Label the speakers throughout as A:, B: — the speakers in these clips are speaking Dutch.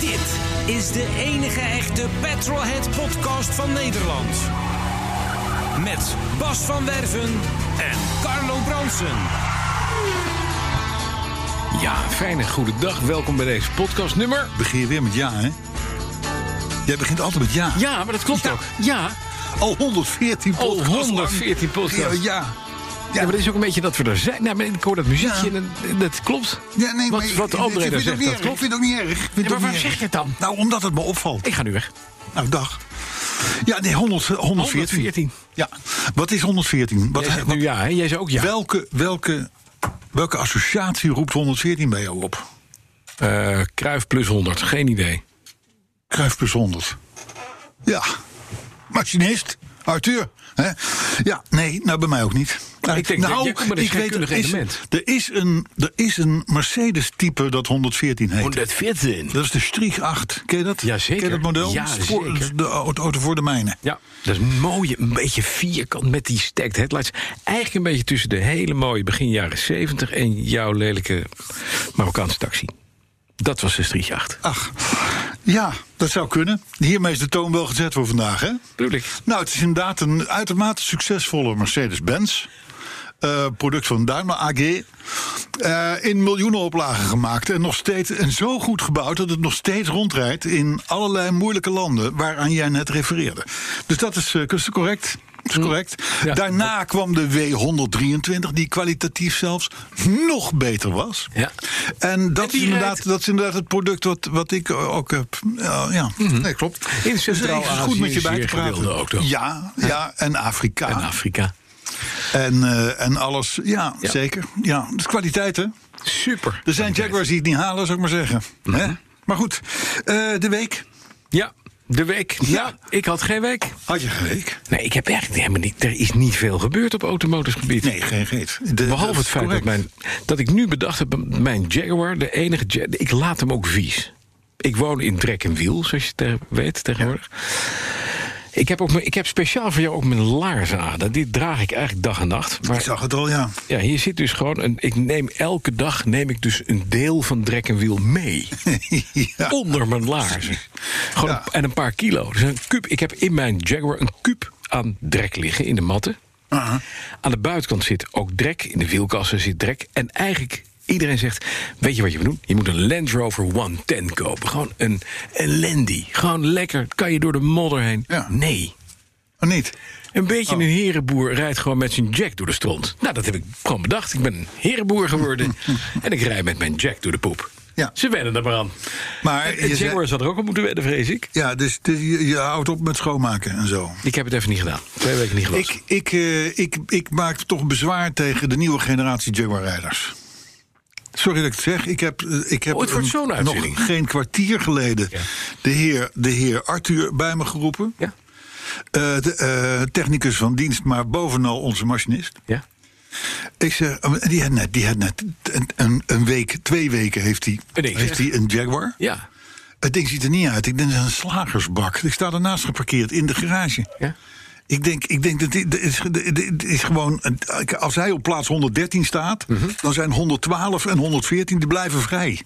A: Dit is de enige echte Petrolhead podcast van Nederland. Met Bas van Werven en Carlo Bronsen.
B: Ja, fijne goede dag. Welkom bij deze podcast nummer.
C: Begin je weer met ja, hè? Jij begint altijd met ja.
B: Ja, maar dat klopt
C: Ja.
B: ook. Ja,
C: Oh, 114
B: al
C: podcasts. lang.
B: 114 podcast.
C: Ja,
B: Ja,
C: ja.
B: maar dat is ook een beetje dat we er zijn. Nou, maar ik hoor dat muziekje
C: Ja.
B: en dat- dat klopt.
C: Ja, nee,
B: wat,
C: maar
B: wat
C: ik-
B: André daar
C: ik, vind het
B: zegt,
C: ook niet
B: dat
C: erg. Ik
B: klopt.
C: vind het ook niet erg. Ik vind het
B: Ja, maar
C: ook
B: waarom
C: niet
B: zeg je het
C: erg.
B: dan?
C: Nou, omdat het me opvalt.
B: Ik ga nu weg.
C: Nou, dag. Ja, nee, 100, 114.
B: 114.
C: Ja. Wat is 114? Wat,
B: Jij zegt
C: wat-
B: nu ja, hè? Jij zei ook ja.
C: welke, welke, welke associatie roept 114 bij jou op?
B: Eh Kruif plus 100, geen idee.
C: Kruif plus 100. Ja. Machinist. Arthur. Hè? Ja, nee, nou bij mij ook niet. Nou,
B: Ik denk,
C: nou,
B: jij komt met een scheikundig
C: er is,
B: element.
C: er is een, er is een Mercedes-type dat 114 heet.
B: 114.
C: Dat is de Strieg 8. Ken je dat?
B: Jazeker.
C: Ken je dat model?
B: Ja,
C: Dat is voor-
B: zeker.
C: De auto auto voor de mijnen.
B: Ja, dat is mooi. Een beetje vierkant met die stacked headlights. Eigenlijk een beetje tussen de hele mooie begin jaren 70 en jouw lelijke Marokkaanse taxi. Dat was de strietjacht.
C: Ach, ja, dat zou kunnen. Hiermee is de toon wel gezet voor vandaag, hè?
B: Bedoel ik.
C: Nou, het is inderdaad een uitermate succesvolle Mercedes-Benz. Eh, product van Daimler AG. Eh, in miljoenen oplagen gemaakt. En, nog steeds, en zo goed gebouwd dat het nog steeds rondrijdt in allerlei moeilijke landen waaraan jij net refereerde. Dus dat is, eh, is correct. Dat is correct.
B: Mm. Ja.
C: Daarna kwam de W123, die kwalitatief zelfs nog beter was.
B: Ja.
C: En dat,
B: En
C: is
B: die
C: inderdaad,
B: rijdt-
C: dat is inderdaad het product wat, wat ik ook heb. Ja, ja.
B: Mhm.
C: nee, klopt.
B: In
C: Dus
B: Centraal-Azië
C: het is goed met je
B: is
C: bij te
B: zeer
C: praten.
B: gewilde ook, toch?
C: Ja, ja, en Afrika.
B: En Afrika.
C: En, eh, en alles. Ja,
B: Ja.
C: zeker. Ja, dat is kwaliteit, hè?
B: Super.
C: Er zijn Jaguars die het niet halen, zou ik maar zeggen.
B: Mhm.
C: Hè? Maar goed, eh, de week.
B: Ja, de week. Ja.
C: Ja.
B: ik had geen week.
C: Had je geen week?
B: Nee, ik heb eigenlijk helemaal niet. Er is niet veel gebeurd op automotive gebied.
C: Nee, geen geet. De- dat
B: Behalve
C: is
B: het feit dat,
C: correct.
B: mijn, dat ik nu bedacht heb, mijn Jaguar, de enige Ja- ik laat hem ook vies. Ik woon in Drek en Wiel, zoals je te- weet tegenwoordig. Ik, heb ook, mijn- ik heb speciaal voor jou ook mijn laars aan. Dat- Dit draag ik eigenlijk dag en nacht.
C: Ik
B: Maar
C: zag het al, ja.
B: ja, hier zit dus gewoon, een, ik neem elke dag neem ik dus een deel van Drek en Wiel mee.
C: ja.
B: Onder mijn laarzen. Gewoon
C: Ja.
B: En een paar kilo. Dus een kuub, ik heb in mijn Jaguar een kuub aan drek liggen in de matten.
C: Aha.
B: Aan de buitenkant zit ook drek. In de wielkassen zit drek. En eigenlijk, iedereen zegt... Weet je wat je moet doen? Je moet een Land Rover 110 kopen. Gewoon een, een Landy. Gewoon lekker. Kan je door de modder heen?
C: Ja.
B: Nee.
C: Oh, niet?
B: Een beetje
C: Oh.
B: een herenboer rijdt gewoon met zijn jack door de stront. Nou, dat heb ik gewoon bedacht. Ik ben een herenboer geworden. en ik rijd met mijn jack door de poep.
C: Ja.
B: Ze wennen er maar aan. Eh,
C: Maar
B: En- en
C: je zei-
B: Jaguar zal er ook op moeten wennen, vrees ik.
C: Ja, dus, dus je, je houdt op met schoonmaken en zo.
B: Ik heb het even niet gedaan. Twee weken niet gewassen.
C: Ik, ik, eh, ik, ik maak toch bezwaar tegen de nieuwe generatie Jaguar-rijders. Sorry dat ik het zeg. Ik heb, eh, ik heb
B: Oh, het wordt
C: een-
B: zo'n
C: nog
B: uitzending.
C: geen kwartier geleden
B: Ja.
C: de, heer, de heer Arthur bij me geroepen.
B: Ja?
C: Eh, de eh, technicus van dienst, maar bovenal onze machinist.
B: Ja?
C: Ik zeg, eh, die had net, die had net een, een, een week, twee weken heeft hij
B: Een ding,
C: heeft
B: zeg.
C: hij een Jaguar.
B: Ja.
C: Het ding ziet er niet uit. Ik denk dat is een slagersbak. Ik sta ernaast geparkeerd in de garage.
B: Ja?
C: Ik denk, ik denk dat dit, dit is, dit- dit is gewoon. een- Als hij op plaats 113 staat,
B: Mhm.
C: dan zijn 112 en 114 die blijven vrij.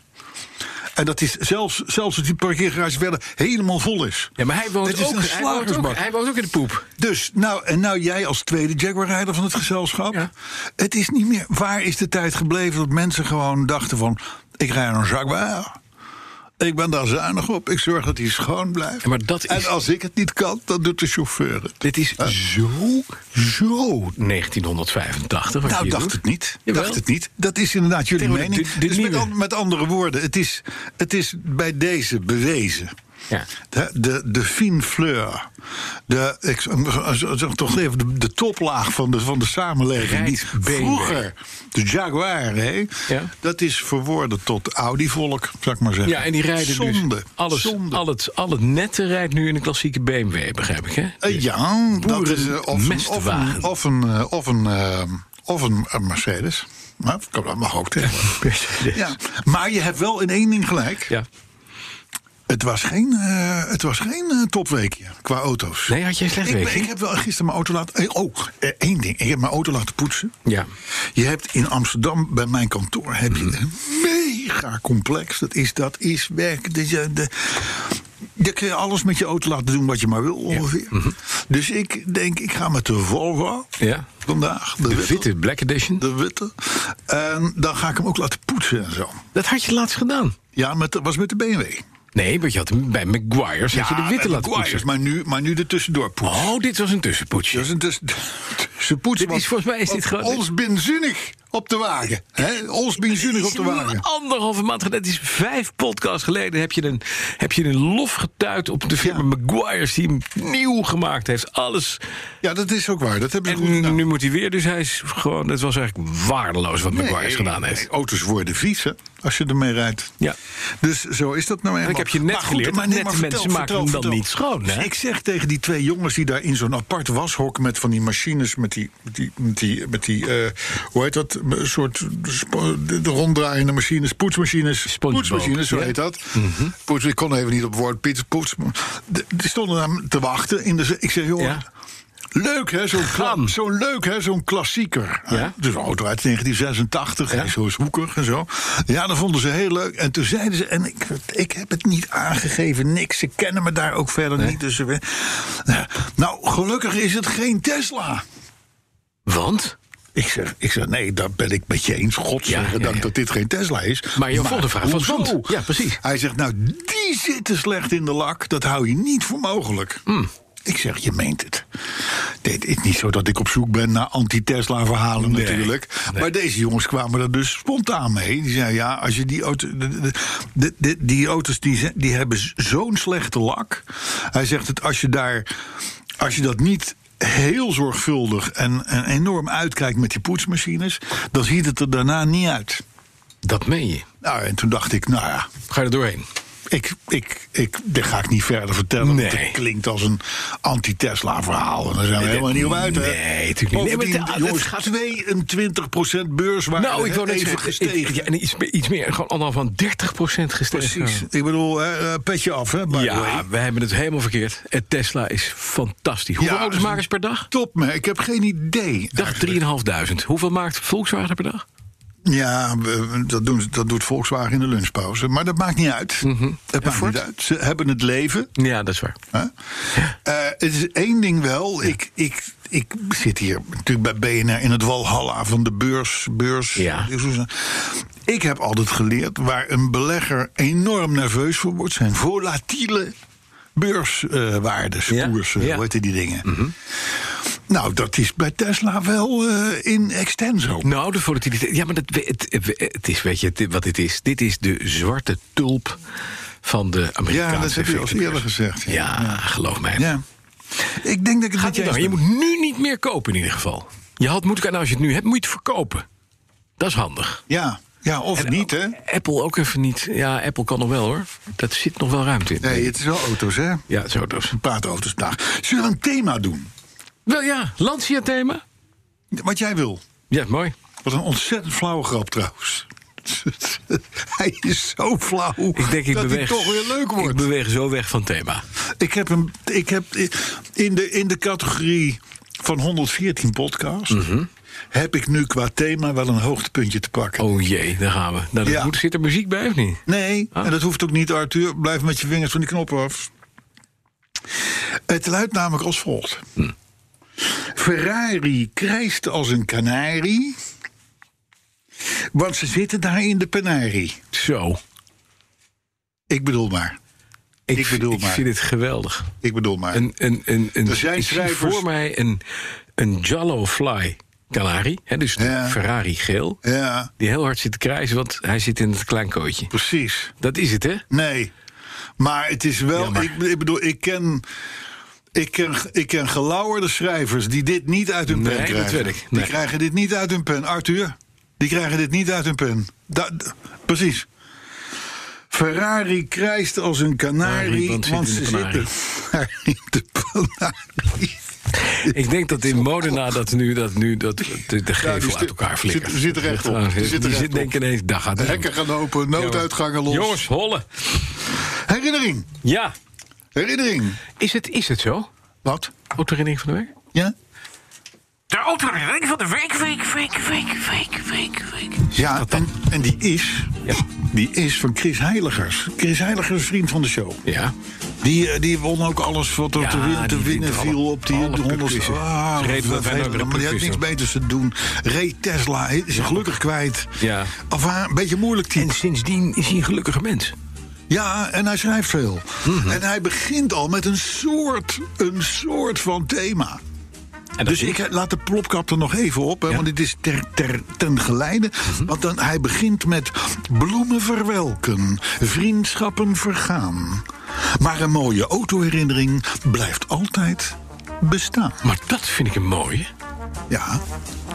C: En dat is zelfs, zelfs als die parkeergarage verder helemaal vol is.
B: Ja, maar hij woont,
C: Dit is
B: ook,
C: een
B: hij, woont ook,
C: slagersbak.
B: hij woont ook in de poep.
C: Dus, nou, en nou jij als tweede Jaguar-rijder van het gezelschap.
B: Ja.
C: Het is niet meer. Waar is de tijd gebleven dat mensen gewoon dachten: van... ik rij een Jaguar. Ik ben daar zuinig op. Ik zorg dat hij schoon blijft.
B: Ja, maar dat is-
C: En als ik het niet kan, dan doet de chauffeur het.
B: Dit is zo
C: Zo
B: 1985. wat je
C: Nou,
B: hier
C: dacht
B: doet.
C: het niet.
B: Jawel.
C: Dacht het niet. Dat is inderdaad jullie
B: Tegenwoordig
C: mening.
B: de- de
C: dus met,
B: nieuwe.
C: an- met andere woorden, het is, het is bij deze bewezen
B: Ja.
C: De, de, de fine fleur. De, ik zeg toch even, de, de toplaag van de, van de samenleving. Die
B: Rijksbeen.
C: vroeger de Jaguar, hè,
B: Ja.
C: dat is verworden tot Audi-volk, zou ik maar zeggen.
B: Ja, en die rijden
C: Zonde.
B: dus... Alles,
C: Zonde.
B: Al, het, al het nette rijdt nu in een klassieke BMW, begrijp ik, hè?
C: Eh,
B: Dus
C: ja, dat
B: boeren-
C: is eh, of, een- of,
B: mestwagen.
C: een, of, een, eh, of, een, eh, of een eh, Mercedes. Maar kan- dat mag ook tegen.
B: Mercedes.
C: Ja, maar je hebt wel in één ding gelijk.
B: Ja.
C: Het was geen, eh, het was geen eh, topweekje qua auto's.
B: Nee, had jij een slecht
C: ik, ben-
B: weekje?
C: Ik heb wel gisteren mijn auto laten... eh, Oh, eh, één ding. Ik heb mijn auto laten poetsen.
B: Ja. Mhm.
C: Je hebt in Amsterdam, bij mijn kantoor, heb je een mega complex. Dat is, dat is werk. Dus je, de, je kun je alles met je auto laten doen wat je maar wil ongeveer. Dus ik denk, ik ga met de Volvo
B: Mhm. Ja.
C: vandaag.
B: De
C: De, witte.
B: witte Black Edition.
C: De witte. En dan ga ik hem ook laten poetsen en zo.
B: Dat had je laatst gedaan.
C: Ja, met, de- was met de BMW.
B: Nee, want je had hem bij McGuire's had je de witte
C: met
B: laten
C: Maguire's,
B: poetsen.
C: Maar nu, maar nu de tussendoor poetsen.
B: Oh, dit was een tussenpoetsje.
C: Dat is een tussen, tussenpoets.
B: Dit is
C: want-
B: volgens mij is dit
C: want
B: gewoon-
C: Ons benzinnig op de wagen. hè? ons benzinnig op de wagen.
B: Anderhalve maand geleden, dat is vijf podcasts geleden, heb je een, heb je een lof getuid op de firma Maguire's die hem nieuw gemaakt heeft. Alles.
C: Ja, dat is ook waar. Dat hebben ze goed
B: En
C: gedaan.
B: nu moet hij weer, dus hij is gewoon, het was eigenlijk waardeloos wat
C: Nee,
B: Maguire's gedaan heeft.
C: nee, auto's worden vies, hè, als je ermee rijdt.
B: Ja.
C: Dus zo is dat nou eenmaal.
B: ik heb je net
C: Maar goed,
B: geleerd,
C: maar nee,
B: nette
C: maar vertel,
B: mensen maken
C: vertel,
B: hem dan
C: vertel.
B: niet schoon, hè?
C: Dus ik zeg tegen die twee jongens die daar in zo'n apart washok... met van die machines, met die, met die, met die, met die eh, hoe heet dat? Een soort spo- de, de ronddraaiende machines, poetsmachines.
B: Spongebob,
C: Poetsmachines, zo
B: ja. Mhm.
C: heet dat. Poets, ik kon even niet op woord, Piet, poets. De- Die stonden daar te wachten. In de, z- ik zeg, joh...
B: Ja.
C: Leuk, hè, zo'n kla-
B: Gaan.
C: zo'n leuk, hè, zo'n klassieker.
B: Ja.
C: Dus een auto uit 1986, hij is zo zwoekig en zo. Ja, dat vonden ze heel leuk. En toen zeiden ze, en ik, ik heb het niet aangegeven, niks. Ze kennen me daar ook verder niet. Dus, ze- nou, gelukkig is het geen Tesla.
B: Want?
C: Ik zeg, ik zeg, nee, daar ben ik met je eens. Godzijdank
B: Ja, ja, ja.
C: dat dit geen Tesla is.
B: Maar je volgende vraag was,
C: hoezo?
B: want? Ja, precies.
C: Hij zegt, nou, die zitten slecht in de lak. Dat hou je niet voor mogelijk. Ik zeg, je meent het. Dit is niet zo dat ik op zoek ben naar anti-Tesla verhalen natuurlijk. Maar deze jongens kwamen er dus spontaan mee. Die zeiden, ja, als je die, auto, de- de- de- de- die auto's die, zijn- die hebben z- zo'n slechte lak. Hij zegt, het, als je daar... Als je dat niet heel zorgvuldig en, en enorm uitkijkt met die poetsmachines... dan ziet het er daarna niet uit.
B: Dat meen je.
C: Nou, en toen dacht ik, nou ja,
B: Ga je er doorheen?
C: ik, ik, ik, dit ga ik niet verder vertellen.
B: Nee.
C: Want het klinkt als een anti-Tesla verhaal. En daar zijn we helemaal niet op uit. hè?
B: nee, natuurlijk niet. Nee, maar
C: Bovendien,
B: het-
C: jongens,
B: het gaat-
C: 22% beurswaarde.
B: Nou, ik
C: hè,
B: wou net
C: is
B: zeggen,
C: gestegen.
B: ik- ja, en iets, iets meer, gewoon anderhalf van 30% gestegen.
C: Precies. Ik bedoel, hè, eh, petje af, hè, by the way.
B: Ja, we hebben het helemaal verkeerd. Het Tesla is fantastisch. Hoeveel
C: Ja,
B: auto's
C: dus-
B: maken ze per dag?
C: Top, maar ik heb geen idee.
B: Dag 3.500. Hoeveel maakt Volkswagen per dag?
C: Ja, we- dat, doen, ze- dat doet Volkswagen in de lunchpauze. Maar dat maakt niet uit.
B: Mhm.
C: Dat maakt niet uit. Ze hebben het leven.
B: Ja, dat is waar.
C: Hè? Eh, het is één ding wel. Ik, ik, ik zit hier natuurlijk bij BNR in het Walhalla van de beurs. beurs
B: Ja.
C: Ik heb altijd geleerd waar een belegger enorm nerveus voor wordt... zijn volatiele beurswaardes,
B: Ja,
C: koersen,
B: ja. Mhm.
C: hoe heet die dingen. Nou, dat is bij Tesla wel eh, in extenso.
B: Nou, de volatiliteit. Ja, maar dat, we- het, we- het is, weet je het- wat dit is? Dit is de zwarte tulp van de Amerikaanse
C: Ja, dat heb je al eens
B: effectenbeurs.
C: eerder gezegd.
B: Ja, geloof mij.
C: Ja. Ik denk dat ik het
B: Gaat
C: met
B: je,
C: je eens
B: dan? je
C: ben.
B: moet nu niet meer kopen in ieder geval. Je had moeten, en als je het nu hebt, moet je het verkopen. Dat is handig.
C: Ja, ja, of niet, hè?
B: Apple ook even niet. Ja, Apple kan nog wel hoor. Dat zit nog wel ruimte in.
C: Nee, het is wel auto's, hè?
B: Ja, zo dus.
C: praatauto's vandaag. Zullen we een thema doen?
B: Wel ja, Lancia-thema.
C: Wat jij wil.
B: Ja, mooi.
C: Wat een ontzettend flauwe grap trouwens. Hij is zo flauw.
B: Ik denk ik
C: dat
B: beweeg,
C: hij toch weer leuk
B: Ik
C: wordt. Ik,
B: beweeg zo weg van thema.
C: heb hem. Ik heb in de, in de categorie van 114 podcasts.
B: Mhm.
C: Heb ik nu qua thema wel een hoogtepuntje te pakken.
B: Oh jee, daar gaan we. Nou, dat
C: Ja.
B: moet, zit er muziek bij of niet?
C: Nee,
B: Ah.
C: en dat hoeft ook niet, Arthur. Blijf met je vingers van die knoppen af. Het luidt namelijk als volgt. Ferrari krijst als een kanarie. Want ze zitten daar in de penarie.
B: Zo.
C: Ik bedoel maar.
B: Ik,
C: Ik bedoel
B: vind- ik
C: maar.
B: vind het geweldig.
C: Ik bedoel maar.
B: Een, een, een, een,
C: Er zijn
B: ik zie
C: schrijvers-
B: voor mij een, een Jallo Fly Canari. Hè, dus de
C: Ja.
B: Ferrari geel.
C: Ja,
B: Die heel hard zit te krijzen, want hij zit in het klein kootje.
C: precies.
B: Dat is het, hè?
C: Nee. Maar het is wel. Ik, ik bedoel, ik ken. Ik ken, ik ken gelauwerde schrijvers die dit niet uit hun
B: Nee,
C: pen
B: dat
C: krijgen.
B: weet ik.
C: Die
B: Nee.
C: krijgen dit niet uit hun pen. Arthur, die krijgen dit niet uit hun pen. Da- d- precies. Ferrari krijst als een
B: Ferrari,
C: kanarie,
B: want
C: want,
B: Ah, zit in
C: ze
B: de
C: zitten
B: kanarie.
C: maar in de kanarie.
B: Ik denk dat in Modena dat nu, dat nu dat, de, de
C: Ja, die
B: gevel
C: zit-
B: uit elkaar flikkert. ah,
C: zit- zit er echt op.
B: Die
C: Die
B: zit,
C: zit er echt
B: denk ik ineens, daar gaat
C: De
B: het.
C: hekken gaan open, nooduitgangen los.
B: Jongens, hollen.
C: Herinnering,
B: Ja.
C: herinnering.
B: Is het, is het zo?
C: Wat?
B: Autorinning van de week?
C: Ja?
B: De autorinning van de week, week, week, week, week, week, week.
C: Ja, en, en die is.
B: Ja.
C: Die is van Chris Heiligers. Chris Heiligers, vriend van de show.
B: Ja.
C: Die, eh, die won ook alles wat er
B: Ja,
C: te winnen, te
B: die
C: winnen
B: wint alle-
C: viel op die Ah,
B: alle
C: 100.
B: pubquizzen. Ze reden wel bijna door de
C: maar die had
B: pubquizzen.
C: niks beters te doen. Reed Tesla, he- is hij gelukkig kwijt.
B: Ja.
C: Of haar, een beetje moeilijk
B: En
C: type.
B: sindsdien is hij een gelukkige mens.
C: Ja, en hij schrijft veel. En hij begint al met een soort, een soort van thema.
B: En
C: Dus ik laat de plopkap er nog even op, hè, want dit is ter, ter, ten geleide. Want dan, hij begint met bloemen verwelken, vriendschappen vergaan. Maar een mooie autoherinnering blijft altijd bestaan.
B: Maar dat vind ik een mooie.
C: Ja,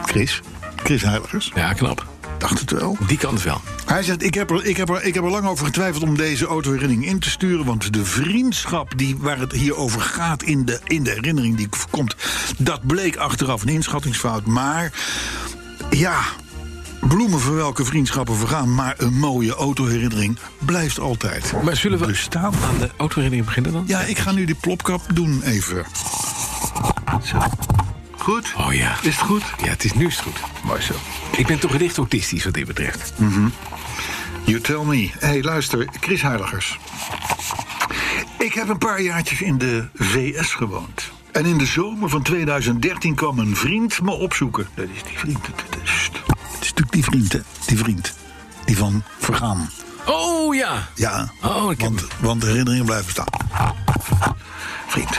C: Chris. Chris Heiligers,
B: Ja, knap.
C: dacht het wel.
B: Die kan het wel.
C: Hij zegt, ik heb, er, ik, heb er, ik heb er lang over getwijfeld om deze autoherinnering in te sturen... want de vriendschap die, waar het hier over gaat in de, in de herinnering die komt... dat bleek achteraf een inschattingsfout. Maar ja, bloemen voor welke vriendschappen vergaan... maar een mooie autoherinnering blijft altijd
B: Maar zullen we-
C: bestaan.
B: Aan de autorinning beginnen dan?
C: Ja, ik ga nu die plopkap doen even. Zo. Goed?
B: Oh ja.
C: Is het goed?
B: Ja, het is nu is het goed. Mooi zo. Ik ben toch licht autistisch wat dit betreft.
C: You tell me. Hé, hey, luister, Chris Heiligers. Ik heb een paar jaartjes in de VS gewoond. En in de zomer van 2013 kwam een vriend me opzoeken. Dat is die vriend. Dat is, sst. Het is natuurlijk die vriend, hè? Die vriend. Die van Vergaan.
B: Oh ja.
C: Ja,
B: Oh, ik heb-
C: want, want de herinneringen blijven staan. Vriend.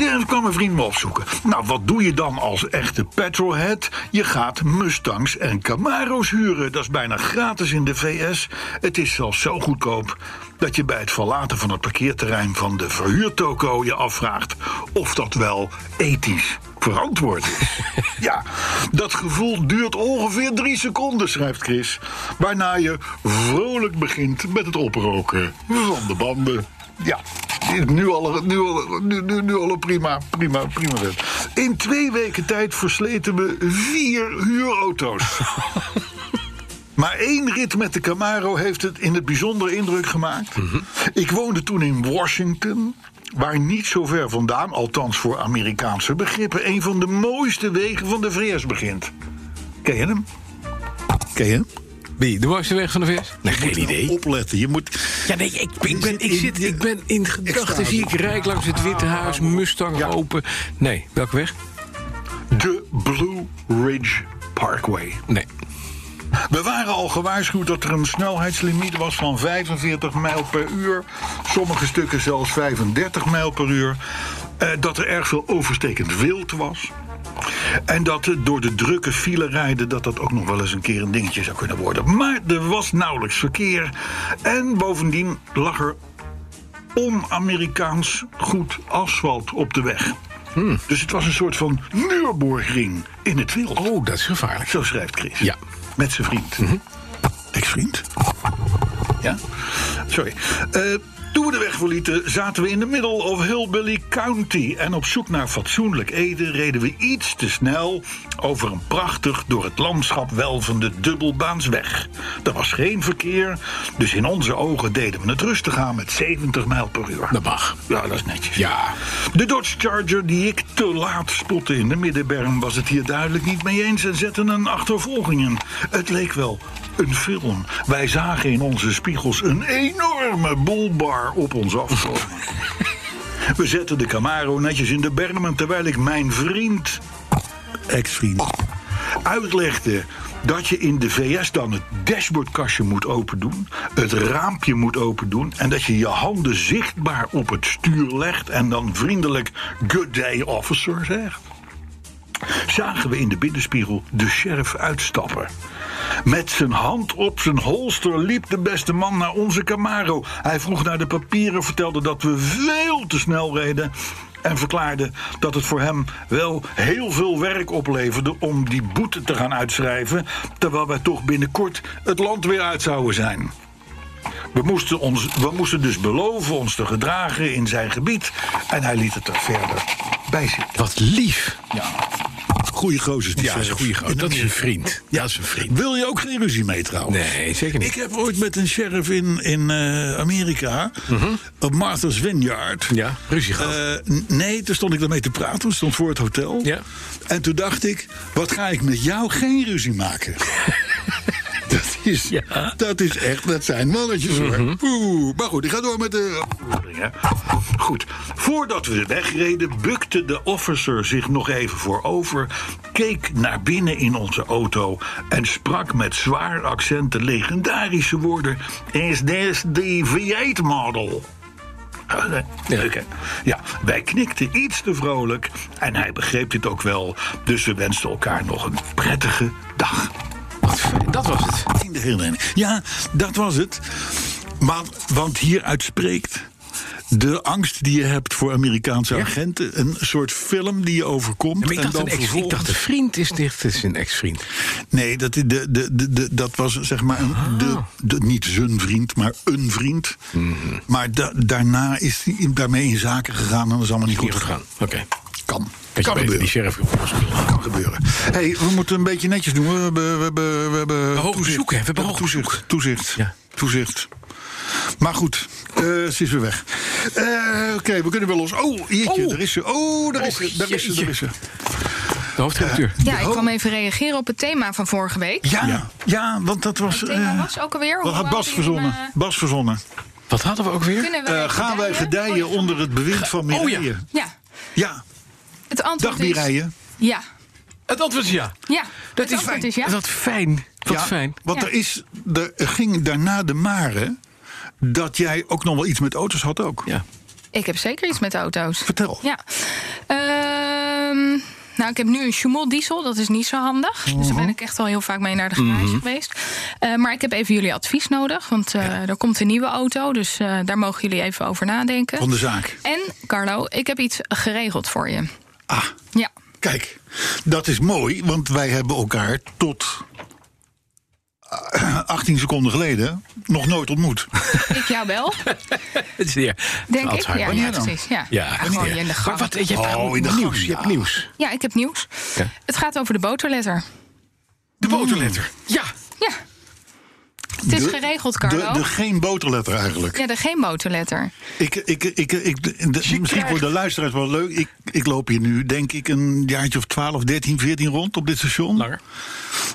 C: Er kwam een vriend me opzoeken. Nou, wat doe je dan als echte petrolhead? Je gaat Mustangs en Camaro's huren. Dat is bijna gratis in de VS. Het is zelfs zo goedkoop dat je bij het verlaten van het parkeerterrein van de verhuurtoko je afvraagt of dat wel ethisch verantwoord is. ja, dat gevoel duurt ongeveer drie seconden, schrijft Chris. Waarna je vrolijk begint met het oproken van de banden. Ja, nu al, nu al, nu, nu, nu al een prima, prima, prima wet. In twee weken tijd versleten we vier huurauto's. Maar één rit met de Camaro heeft het in het bijzonder indruk gemaakt. Ik woonde toen in Washington, waar niet zo ver vandaan, althans voor Amerikaanse begrippen, een van de mooiste wegen van de VS begint. Ken je hem? Ken je hem?
B: Wie? De mooiste weg van de vis? Nee, geen idee.
C: Opletten, je moet.
B: Ja, nee, ik, ik, ben, ik, zit, ik ben in gedachten.
C: Extase.
B: Zie ik rijk langs het Witte Huis, Mustang
C: Ja.
B: open. Nee, welke weg?
C: De Blue Ridge Parkway.
B: Nee.
C: We waren al gewaarschuwd dat er een snelheidslimiet was van 45 mijl per uur. Sommige stukken zelfs 35 mijl per uur. Eh, dat er erg veel overstekend wild was. En dat eh, door de drukke file rijden dat dat ook nog wel eens een keer een dingetje zou kunnen worden. Maar er was nauwelijks verkeer. En bovendien lag er on-Amerikaans goed asfalt op de weg. Dus het was een soort van Nürburgring in het wild.
B: Oh, dat is gevaarlijk.
C: Zo schrijft Chris.
B: Ja. Mhm.
C: Met zijn vriend. Ex-vriend. Ja? Sorry. Eh, toen we de weg verlieten, zaten we in de middle of Hillbilly County. En op zoek naar fatsoenlijk eten reden we iets te snel over een prachtig door het landschap welvende dubbelbaansweg. Er was geen verkeer, dus in onze ogen deden we het rustig aan met 70 mijl per uur.
B: Dat mag.
C: Ja, dat is netjes.
B: Ja.
C: De Dodge Charger die ik te laat spotte in de middenberm was het hier duidelijk niet mee eens en zette een achtervolging in. Het leek wel een film. Wij zagen in onze spiegels een enorme boelbar op ons afkomen. We zetten de Camaro netjes in de berm en terwijl ik mijn vriend, ex-vriend, uitlegde dat je in de VS dan het dashboardkastje moet opendoen, het raampje moet opendoen en dat je je handen zichtbaar op het stuur legt en dan vriendelijk good day officer zegt zagen we in de binnenspiegel de sheriff uitstappen. Met zijn hand op zijn holster liep de beste man naar onze Camaro. Hij vroeg naar de papieren, vertelde dat we veel te snel reden. En verklaarde dat het voor hem wel heel veel werk opleverde om die boete te gaan uitschrijven. Terwijl wij toch binnenkort het land weer uit zouden zijn. We moesten, ons, we moesten dus beloven ons te gedragen in zijn gebied. En hij liet het er verder bij zitten.
B: Wat lief.
C: Ja. Goeie gozers. die
B: Ja, dat is een
C: verf.
B: goeie gozer.
C: In
B: Dat is een
C: Amerika.
B: vriend.
C: Ja,
B: Dat is een vriend.
C: Wil je ook geen ruzie mee trouwens?
B: Nee, zeker niet.
C: Ik heb ooit met een sheriff in, in eh, Amerika, op Martha's Vineyard.
B: Mhm. Ja, ruzie gehad.
C: Eh, n- nee, toen stond ik daarmee te praten. Toen stond voor het hotel.
B: Ja.
C: En toen dacht ik, wat ga ik met jou geen ruzie maken? dat, is,
B: Ja. Mhm.
C: dat is echt, dat zijn mannetjes hoor. Oeh, maar goed, ik ga door met de... Goed, voordat we wegreden, bukte de officer zich nog even voorover... keek naar binnen in onze auto en sprak met zwaar accent de legendarische woorden... Is this the V8 model? Ah, nee.
B: Ja.
C: Oké. Ja, wij knikten iets te vrolijk en hij begreep dit ook wel. Dus we wensten elkaar nog een prettige dag.
B: Wat fijn. Dat was het.
C: In de hele eind. Ja, dat was het. Maar, want hieruit spreekt de angst die je hebt voor Amerikaanse agenten. Een soort film die je overkomt.
B: Maar ik,
C: en
B: dacht
C: dan
B: een ex, ik
C: vervolgens-
B: dacht, een vriend is dicht. Het is een ex-vriend.
C: Nee, dat, de, de, de, de- dat was zeg maar een, de, de, niet zijn vriend, maar een vriend. Maar da- daarna is hij in- daarmee in zaken gegaan en dat is allemaal niet goed
B: Goed
C: gegaan.
B: gegaan. Oké.
C: Kan.
B: Dat je
C: Kan
B: beter die
C: gebeuren.
B: sheriff op ons kunt laten.
C: Kan gebeuren. hey, we moeten een beetje netjes doen. We hebben, we hebben, we hebben
B: hoog bezoek, hè? We hebben hoog
C: toezicht.
B: bezoek.
C: Toezicht.
B: Ja.
C: Toezicht. Maar goed, eh, ze is weer weg. Eh, Oké, we kunnen wel los. Oh, jeetje,
B: Oh.
C: daar is ze. Oh, daar is ze. Daar is ze. Daar is ze.
B: De hoofdredacteur.
D: Ja, ik kwam even reageren op het thema van vorige week.
C: Oh. Ja, ja. want dat was.
D: Het thema
C: eh,
D: was ook alweer.
C: Wat
D: hoe
C: had
D: oud
C: Bas
D: die
C: verzonnen?
D: jongen-
C: Bas verzonnen.
B: Wat hadden we ook weer?
D: Kunnen
C: Eh, gaan wij gedijen
D: Oh,
C: onder het bewind van
B: ja.
C: Mireille?
D: Ja,
C: ja.
D: het antwoord
C: dag
D: is...
C: Mireille.
D: Ja,
B: Het antwoord is ja.
D: ja.
B: Dat
D: het
B: is
D: antwoord
B: fijn.
D: is ja.
B: Dat fijn. Wat fijn.
C: Want
D: Ja.
C: er, is, er ging daarna de mare dat jij ook nog wel iets met auto's had ook.
B: Ja.
D: Ik heb zeker iets met auto's.
C: Vertel.
D: Ja. Ehm, nou, ik heb nu een Schumel diesel. Dat is niet zo handig. Dus
C: Mhm.
D: daar ben ik echt al heel vaak mee naar de garage geweest. Eh, maar ik heb even jullie advies nodig. Want eh, er komt een nieuwe auto. Dus eh, daar mogen jullie even over nadenken.
C: Van de zaak.
D: En, Carlo, ik heb iets geregeld voor je.
C: Ah,
D: Ja.
C: kijk. Dat is mooi, want wij hebben elkaar tot eh, 18 seconden geleden nog nooit ontmoet.
D: Ik jou wel,
B: Het is weer.
D: denk ik.
B: Alzheimer.
D: Ja, ja, precies. Ja,
B: Ja,
D: gewoon
B: ja.
D: in de gang.
B: Maar wat, je hebt
C: Oh, in de gang,
B: nieuws. Je
C: ja.
B: hebt nieuws.
D: Ja, ik heb nieuws.
B: Ja.
D: Het gaat over de boterletter.
B: De boterletter. Ja.
D: Ja. Het is
C: De-
D: geregeld,
C: De,
D: Carlo.
C: de geen boterletter eigenlijk.
D: Ja, de geen boterletter.
C: Ik, ik, ik, ik, de- misschien voor de luisteraars wel leuk. Ik, ik loop hier nu, denk ik, een jaartje of 12, 13, 14 rond op dit station.
B: Langer.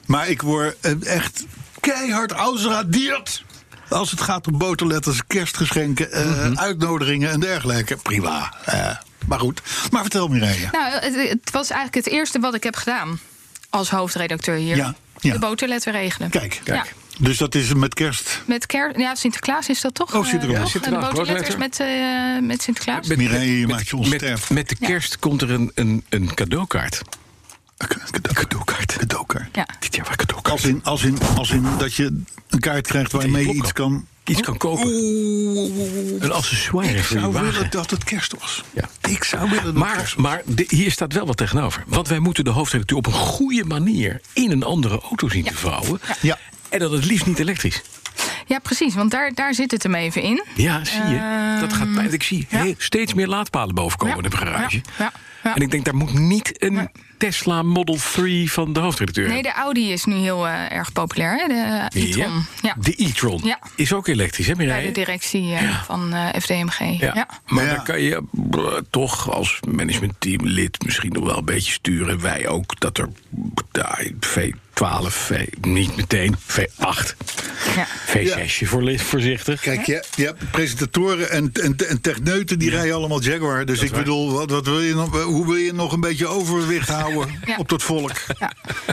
C: Maar ik word eh, echt keihard ausradiert. Als het gaat om boterletters, kerstgeschenken, eh,
B: Mhm.
C: uitnodigingen en dergelijke. Prima. eh, maar goed. Maar vertel Mireille.
D: Nou, het, het was eigenlijk het eerste wat ik heb gedaan als hoofdredacteur hier.
C: Ja, ja.
D: De boterletter regelen.
C: Kijk,
D: kijk.
C: Dus dat is met kerst.
D: Met ker ja, Sinterklaas is dat toch?
C: Oh, Sinterklaas.
D: eh,
C: Ja,
D: toch?
B: Sinterklaas,
D: de boterletters met, eh, met Sinterklaas.
B: Met-
C: Mireille, je
B: met-
C: maakt je
B: met-
C: onsterfelijk.
B: Met de kerst komt er een, een, een cadeaukaart.
C: Cadeaukaart. Cadeaukaart.
D: Ja.
B: Dit jaar waar cadeaukaart.
C: Als in, als, in, als in dat je een kaart krijgt waarmee je
B: klopt
C: iets
B: kan.
C: kan...
B: Iets kan kopen. Een accessoire
C: Ik
B: voor je
C: zou willen
B: wagen.
C: dat het kerst was.
B: Ja.
C: Ik zou willen dat het kerst
B: Maar,
C: was.
B: maar de- hier staat wel wat tegenover. Want wij moeten de hoofdredacteur op een goede manier in een andere auto zien te vouwen.
C: Ja.
B: En dat het liefst niet elektrisch.
D: Ja, precies, want daar, daar zit het hem even in.
B: Ja, zie je. dat gaat bij. Ik zie
D: Ehm, ja.
B: heel- steeds meer laadpalen bovenkomen
D: Ja,
B: in de garage.
D: ja, ja, ja.
B: En ik denk, daar moet niet een Tesla Model 3 van de hoofdredacteur
D: Nee, de Audi is nu heel eh, erg populair, hè? de
B: hebben.
D: e-tron.
B: Ja.
D: Ja.
B: De e-tron.
D: Ja.
B: Is ook elektrisch, hè
D: Bij de
B: Mireille?
D: directie eh, van eh, FDMG.
B: Ja.
D: Ja.
B: Maar
C: Ja.
B: dan kan je eh, toch als managementteamlid misschien nog wel een beetje sturen. Wij ook dat er ja, V12, v, niet meteen, V8,
D: Ja.
B: V6 voor licht voorzichtig.
C: Kijk, je, je hebt presentatoren en, en, en techneuten die rijden allemaal Jaguar. Dus ik bedoel, wat, wat wil je nog, hoe wil je nog een beetje overwicht houden
D: Ja.
C: op dat volk?
D: Ja.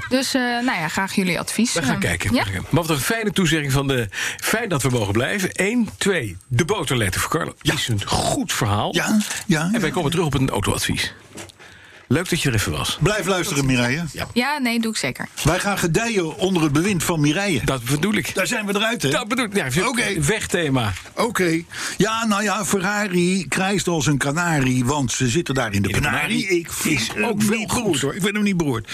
D: Dus, eh, nou ja, graag jullie advies.
B: We gaan
D: Eh,
B: kijken.
D: Ja?
B: Maar wat een fijne toezegging van de. Fijn dat we mogen blijven. Eén, twee, de boterletter voor Carlo. Is een goed verhaal.
C: Ja, ja,
B: En wij
C: ja.
B: komen terug op een autoadvies. Leuk dat je er even was.
C: Blijf luisteren, Mireille.
D: Ja, nee, doe ik zeker.
C: Wij gaan gedijen onder het bewind van Mireille.
B: Dat bedoel ik.
C: Daar zijn we eruit, hè?
B: Dat bedoel ik. Ja,
C: Oké.
B: Wegthema.
C: Oké. Ja, nou ja, Ferrari krijgt als een kanarie, want ze zitten daar in de
B: de
C: penarie.
B: penarie.
C: Ik vind
B: Is
C: hem
B: ook wel
C: niet
B: goed.
C: beroerd, hoor. Ik vind hem niet beroerd.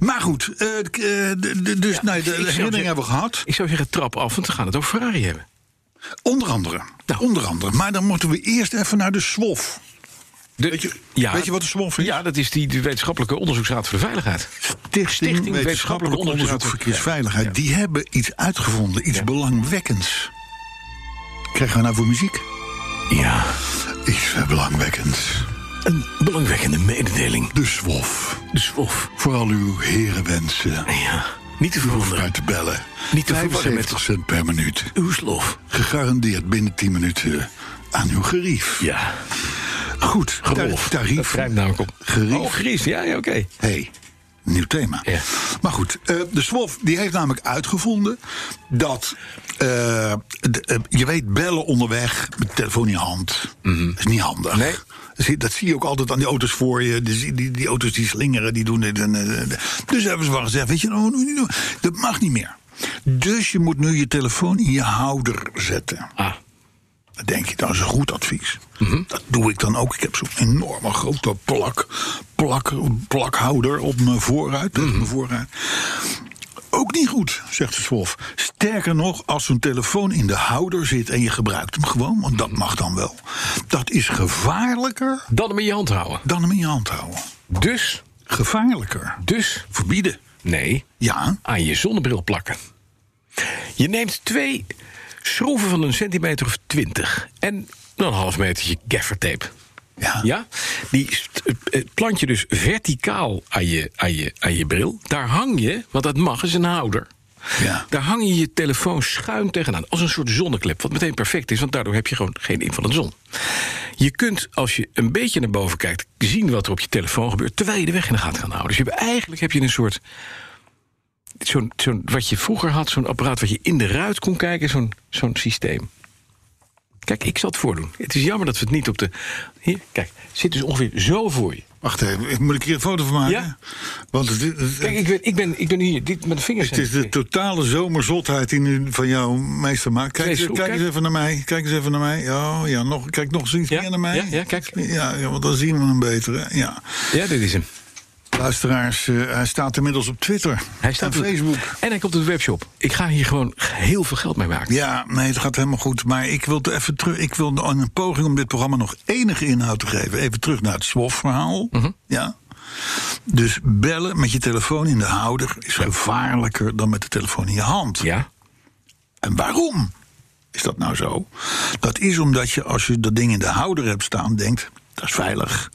C: Maar goed, eh, k- eh, d- d- dus nou, de
B: ik zou
C: herinnering
B: zeggen-
C: hebben we gehad.
B: Ik zou zeggen, trap af, want we gaan het over Ferrari hebben.
C: Onder andere.
B: Nou.
C: Onder andere. Maar dan moeten we eerst even naar de SWOF.
B: De-
C: Weet je- weet je wat de SWOF is?
B: Ja, dat is die de Wetenschappelijke Onderzoeksraad voor de Veiligheid.
C: Stichting,
B: Wetenschappelijk Onderzoek
C: Verkeersveiligheid.
B: Ja.
C: Die hebben iets uitgevonden, iets belangwekkends. Krijgen we nou voor muziek?
B: Ja,
C: Iets eh, belangwekkends.
B: een belangwekkende mededeling.
C: De SWOF.
B: De SWOF.
C: Voor al uw herenwensen.
B: Ja, niet te verwonderen.
C: uit te bellen.
B: Niet te verwarren met-
C: 75 cent per minuut.
B: Uw slof.
C: Gegarandeerd binnen 10 minuten aan uw gerief.
B: Ja,
C: Goed,
B: Rolf.
C: tar-
B: Dat
C: tarief.
B: schrijft namelijk op.
C: Gerief.
B: Oh, gerief. Ja, ja oké.
C: hey, nieuw thema.
B: Ja.
C: Maar goed, eh, de SWOF die heeft namelijk uitgevonden dat eh, de- eh, je weet bellen onderweg met telefoon in je hand is niet handig.
B: Mhm. Nee.
C: Zie- Dat zie je ook altijd aan die auto's voor je. Dus Die, die, die auto's die slingeren, die doen dit. En, eh, eh, dus hebben ze wel gezegd, weet je, nou, nu- nu- nu- dat mag niet meer. Dus je moet nu je telefoon in je houder zetten.
B: Ah,
C: Dan denk je, dat is een goed advies.
B: Mhm.
C: Dat doe ik dan ook. Ik heb zo'n enorme grote plak, plak, plakhouder op mijn voorruit.
B: Mhm.
C: tegen mijn voorruit. Ook niet goed, zegt de Swolf. Sterker nog, als zo'n telefoon in de houder zit en je gebruikt hem gewoon, want
B: Mhm.
C: dat mag dan wel. Dat is gevaarlijker
B: dan hem in je hand houden.
C: dan hem in je hand houden.
B: Dus,
C: Gevaarlijker.
B: dus,
C: Verbieden.
B: nee,
C: Ja,
B: aan je zonnebril plakken. Je neemt twee schroeven van een centimeter of twintig en een half metertje gaffertape.
C: ja.
B: Ja, die st- eh, plant je dus verticaal aan je, aan, je, aan je bril. Daar hang je, want dat mag, is een houder.
C: Ja.
B: Daar hang je je telefoon schuin tegenaan. Als een soort zonneklep. Wat meteen perfect is, want daardoor heb je gewoon geen in van de zon. Je kunt, als je een beetje naar boven kijkt, zien wat er op je telefoon gebeurt. terwijl je de weg in de gaten kan houden. Dus je hebt, eigenlijk heb je een soort. Zo'n, zo'n, wat je vroeger had, zo'n apparaat wat je in de ruit kon kijken, zo'n, zo'n systeem. Kijk, ik zal het voordoen. Het is jammer dat we het niet op de. Hier, kijk, zit dus ongeveer zo voor je.
C: Wacht even, moet ik hier een foto van maken?
B: Ja.
C: Want het, het-
B: Kijk, ik ben, ik ben, ik ben hier, dit, mijn vingers
C: Het is
B: zijn-
C: de totale zomerzotheid die nu van jou meester maakt. Kijk,
B: Kees,
C: eens-
B: hoe
C: kijk eens
B: kijk-
C: even naar mij. Kijk eens even naar mij. Oh ja, nog, kijk nog eens iets
B: Ja,
C: meer naar mij.
B: ja, ja, kijk.
C: Ja, ja, want dan zien we hem beter. hè. Ja.
B: Ja, dit is hem.
C: Luisteraars, eh, hij staat inmiddels op Twitter.
B: Hij staat
C: op
B: op-
C: Facebook.
B: En hij komt op de webshop. Ik ga hier gewoon heel veel geld mee maken.
C: Ja, nee, het gaat helemaal goed. Maar ik wil er even terug. Ik wil aan een poging om dit programma nog enige inhoud te geven. Even terug naar het SWOF-verhaal.
B: Mhm.
C: Ja. Dus bellen met je telefoon in de houder is gevaarlijker dan met de telefoon in je hand.
B: Ja?
C: En waarom is dat nou zo? Dat is omdat je als je dat ding in de houder hebt staan, denkt: dat is veilig.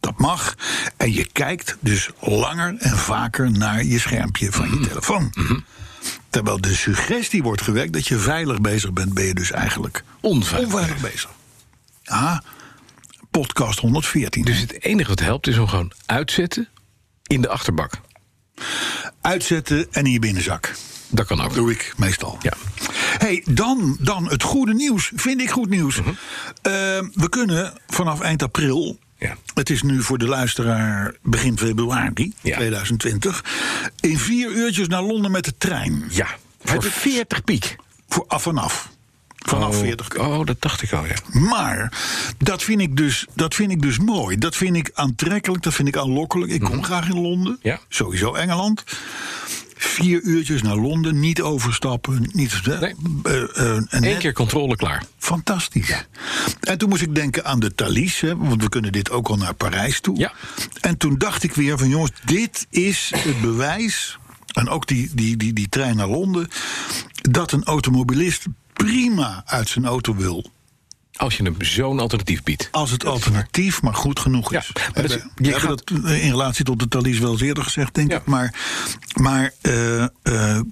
C: Dat mag. En je kijkt dus langer en vaker naar je schermpje van
B: Mhm.
C: je telefoon. Terwijl de suggestie wordt gewekt dat je veilig bezig bent, ben je dus eigenlijk
B: Onveilig.
C: onveilig bezig. Ja, podcast 114.
B: Dus het enige wat helpt is hem gewoon uitzetten in de achterbak.
C: Uitzetten en in je binnenzak.
B: Dat kan ook.
C: Doe ik meestal.
B: Ja.
C: Hey, dan, dan het goede nieuws. Vind ik goed nieuws.
B: Mhm.
C: Eh, we kunnen vanaf eind april.
B: Ja.
C: Het is nu voor de luisteraar begin februari
B: Ja.
C: 2020. In vier uurtjes naar Londen met de trein.
B: Ja. Voor 40 piek.
C: Voor af en af. Vanaf
B: oh,
C: 40.
B: Oh, dat dacht ik al, ja.
C: Maar dat vind, ik dus, dat vind ik dus mooi. Dat vind ik aantrekkelijk. Dat vind ik aanlokkelijk. Ik kom graag in Londen.
B: Mhm. Ja.
C: Sowieso Engeland. Vier uurtjes naar Londen. Niet overstappen. Niet,
B: Nee.
C: eh, eh, en
B: Eén
C: net-
B: keer controle klaar.
C: Fantastisch. En toen moest ik denken aan de Thalys, hè, want we kunnen dit ook al naar Parijs toe.
B: Ja.
C: En toen dacht ik weer van jongens, dit is het bewijs, en ook die, die, die, die trein naar Londen, dat een automobilist prima uit zijn auto wil.
B: Als je hem zo'n alternatief biedt.
C: Als het alternatief maar goed genoeg is.
B: Ja, maar
C: we
B: dat-
C: hebben,
B: je
C: we hebben
B: gaat-
C: dat eh, in relatie tot de Thalys wel eens eerder gezegd, denk
B: Ja.
C: ik. Maar, maar eh, eh,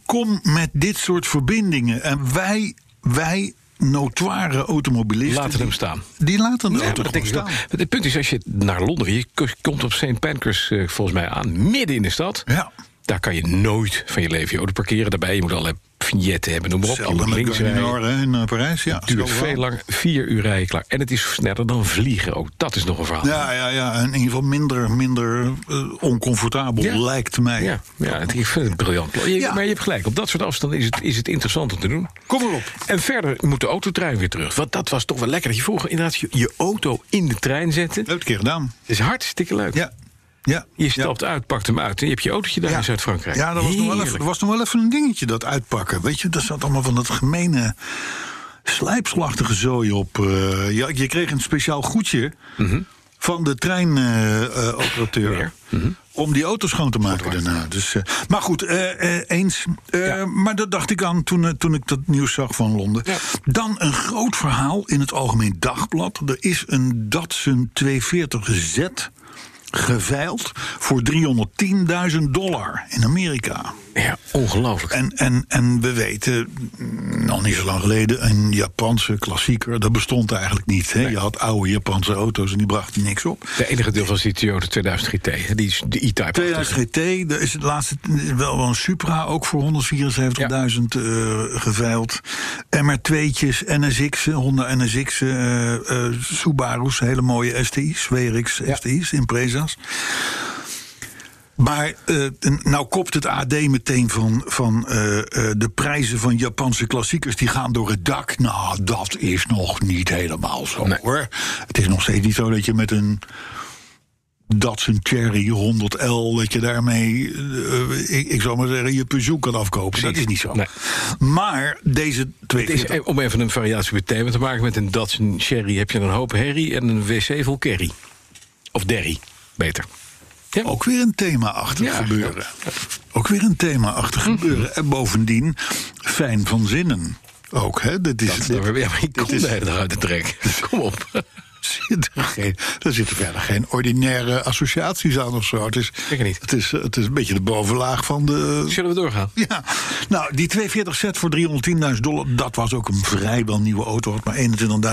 C: kom met dit soort verbindingen. En wij, wij notoire automobilisten...
B: Laten hem staan.
C: Die laten de
B: Ja,
C: auto
B: maar dat
C: gewoon
B: denk ik wel.
C: staan.
B: Maar Het punt is, als je naar Londen wil, je k- komt op St. Pancras eh, volgens mij aan, midden in de stad.
C: Ja.
B: Daar kan je nooit van je leven je auto parkeren. Daarbij, je moet allerlei vignetten hebben, noem maar op. Je
C: Hetzelfde
B: moet
C: met
B: links
C: Gurney
B: rijden.
C: Noord hè, in eh, Parijs. Ja,
B: Het duurt
C: zo wel.
B: veel langer, vier uur rijden klaar. En het is sneller dan vliegen ook. Dat is nog een verhaal.
C: Ja, ja, ja. En in ieder geval minder, minder eh, oncomfortabel
B: Ja.
C: lijkt mij.
B: Ja, ja het- ik vind het briljant. plan. Je-
C: Ja.
B: Maar je hebt gelijk, op dat soort afstanden is het, is het interessant om te doen.
C: Kom erop.
B: En verder moet de autotrein weer terug. Want dat was toch wel lekker dat je vroeger inderdaad je, je auto in de trein zette.
C: Leuk keer gedaan.
B: Het is hartstikke leuk.
C: Ja. ja.
B: Je
C: ja.
B: stapt uit, pakt hem uit en je hebt je autootje daar
C: Ja.
B: in Zuid-Frankrijk.
C: Ja, dat was nog, wel even,
B: Heerlijk.
C: dat was nog wel even een dingetje, dat uitpakken. Weet je, daar zat allemaal van dat gemene slijpslachtige zooi op. eh. je, je kreeg een speciaal goedje van de treinoperateur.
B: Mhm.
C: Mhm.
B: Weer.
C: Om die auto schoon te maken daarna. Dus, eh, maar goed, eh, eh, eens. Eh,
B: Ja.
C: Maar dat dacht ik aan toen, eh, toen ik dat nieuws zag van Londen.
B: Ja.
C: Dan een groot verhaal in het Algemeen Dagblad. Er is een Datsun 240Z geveild voor 310.000 dollar in Amerika.
B: Ja, ongelooflijk.
C: En, en, en we weten, mm, nog niet zo lang geleden, een Japanse klassieker. Dat bestond eigenlijk niet. Hè? Je had oude Japanse auto's en die brachten niks op.
B: De enige deel was die Toyota 2000 GT, hè, die is de e-type.
C: 2000 GT, daar is het laatste wel wel een Supra ook voor 174.000 eh, geveild. En maar tweetjes, NSX, Honda NSX, eh, eh, Subaru's, hele mooie STI's, WRX STI's, Impreza's. Maar eh, nou kopt het AD meteen van, van eh, eh, de prijzen van Japanse klassiekers... die gaan door het dak. Nou, dat is nog niet helemaal zo,
B: Nee.
C: hoor. Het is nog steeds niet zo dat je met een Datsun Cherry 100L... dat je daarmee, eh, ik, ik zou maar zeggen, je Peugeot kan afkopen. Dat is niet zo.
B: Nee.
C: Maar deze twee...
B: Het is, om even een variatie op het thema te maken. Met een Datsun Sherry heb je een hoop herrie en een wc vol kerry. Of derry, beter. Ja.
C: Ook weer een thema-achtig
B: Ja, Hm.
C: gebeuren. Ook weer een thema-achtig gebeuren. En bovendien fijn van zinnen. Ook, hè? Dit is,
B: Dat,
C: dit-
B: ja, maar je komt
C: is-
B: de hele dag uit de trek. Kom op.
C: zit er geen, er zitten verder geen ordinaire associaties aan of zo. Het is,
B: Zeker niet.
C: Het is, het is een beetje de bovenlaag van de.
B: Zullen we doorgaan?
C: Ja, nou, die 240 set voor 310.000 dollar, dat was ook een vrijwel nieuwe auto. Had maar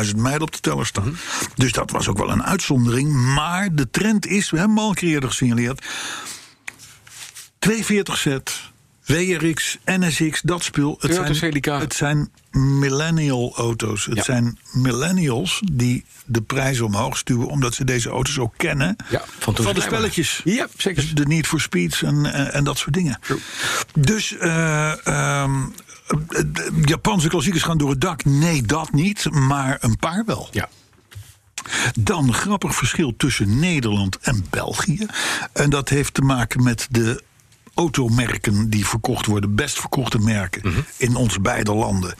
C: 21.000 mijl op de teller staan.
B: Mhm.
C: Dus dat was ook wel een uitzondering. Maar de trend is, we hebben hem al een keer eerder gesignaleerd. 240 set, WRX, NSX, dat spul. Het
B: Toyota
C: zijn,
B: Celica.
C: het zijn millennial auto's. Het
B: Ja.
C: zijn millennials die de prijs omhoog stuwen... omdat ze deze auto's ook kennen
B: Ja, van toen
C: van
B: ze
C: de
B: klein waren.
C: spelletjes.
B: Ja, zeker.
C: Dus de Need for Speeds en, eh, en dat soort dingen. Dus eh, ehm, de Japanse klassiekers gaan door het dak. Nee, dat niet, maar een paar wel.
B: Ja.
C: Dan grappig verschil tussen Nederland en België. En dat heeft te maken met de automerken die verkocht worden, best verkochte merken
B: Mhm.
C: in onze beide landen.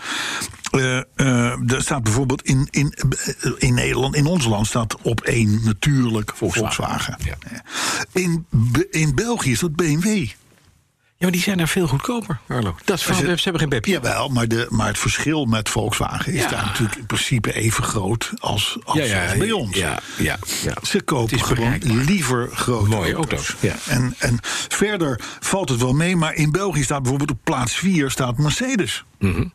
C: Eh eh, er staat bijvoorbeeld in, in, eh, in Nederland, in ons land staat op één natuurlijk Volkswagen. Eh,
B: Ja.
C: In, Be- in België is dat BMW.
B: ja, maar die zijn daar veel goedkoper, Arlo. Dat is
C: ze-
B: ze, ze hebben geen pepje.
C: Jawel, maar, de, maar het verschil met Volkswagen is
B: Ja.
C: daar natuurlijk in principe even groot als, als, als bij ons.
B: Ja, ja, ja.
C: Ze
B: Het
C: kopen
B: is
C: gewoon
B: bereikbaar.
C: liever grote
B: Mooie auto's, ja.
C: En, en verder valt het wel mee, maar in België staat bijvoorbeeld op plaats 4 staat Mercedes.
B: Mhm.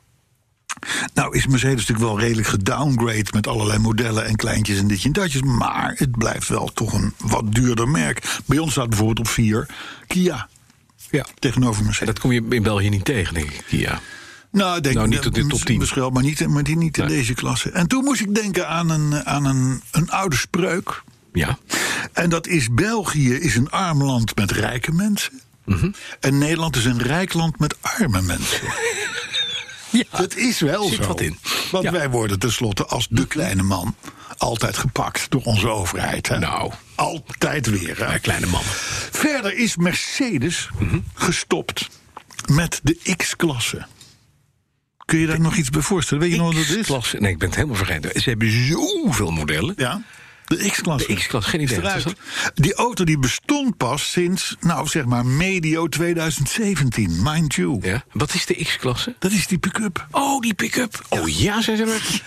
C: Nou is Mercedes natuurlijk wel redelijk gedowngrade met allerlei modellen en kleintjes en ditje en datjes. Maar het blijft wel toch een wat duurder merk. Bij ons staat bijvoorbeeld op 4 Kia
B: Ja.
C: tegenover Mercedes.
B: Dat kom je in België niet tegen, denk ik. Ja.
C: Nou, ik denk
B: Nou, niet tot de top 10.
C: Misschien, maar niet, maar die niet in
B: Nee.
C: deze klasse. En toen moest ik denken aan een, aan een, een oude spreuk.
B: ja.
C: En dat is België is een arm land met rijke mensen.
B: Mhm.
C: En Nederland is een rijk land met arme mensen. Dat is wel
B: Zit
C: zo.
B: wat in.
C: Want
B: Ja.
C: wij worden tenslotte als de kleine man altijd gepakt door onze overheid. Hè?
B: Nou.
C: Altijd weer. Hè?
B: Maar kleine Mhm. mannen.
C: Verder is Mercedes gestopt met de X-klasse. Kun je daar nog iets bij voorstellen? Weet je nog wat dat is?
B: X-klasse. Nee, ik ben het helemaal vergeten. Ze hebben zoveel modellen.
C: Ja, de X-klasse.
B: De X-klasse, geen
C: Is
B: idee.
C: eruit.
B: Wat is
C: Die auto die bestond pas sinds, nou zeg maar, medio 2017, mind you.
B: Ja. Wat is de X-klasse?
C: Dat is die pick-up.
B: Oh, die pick-up. Oh ja, zijn ze er.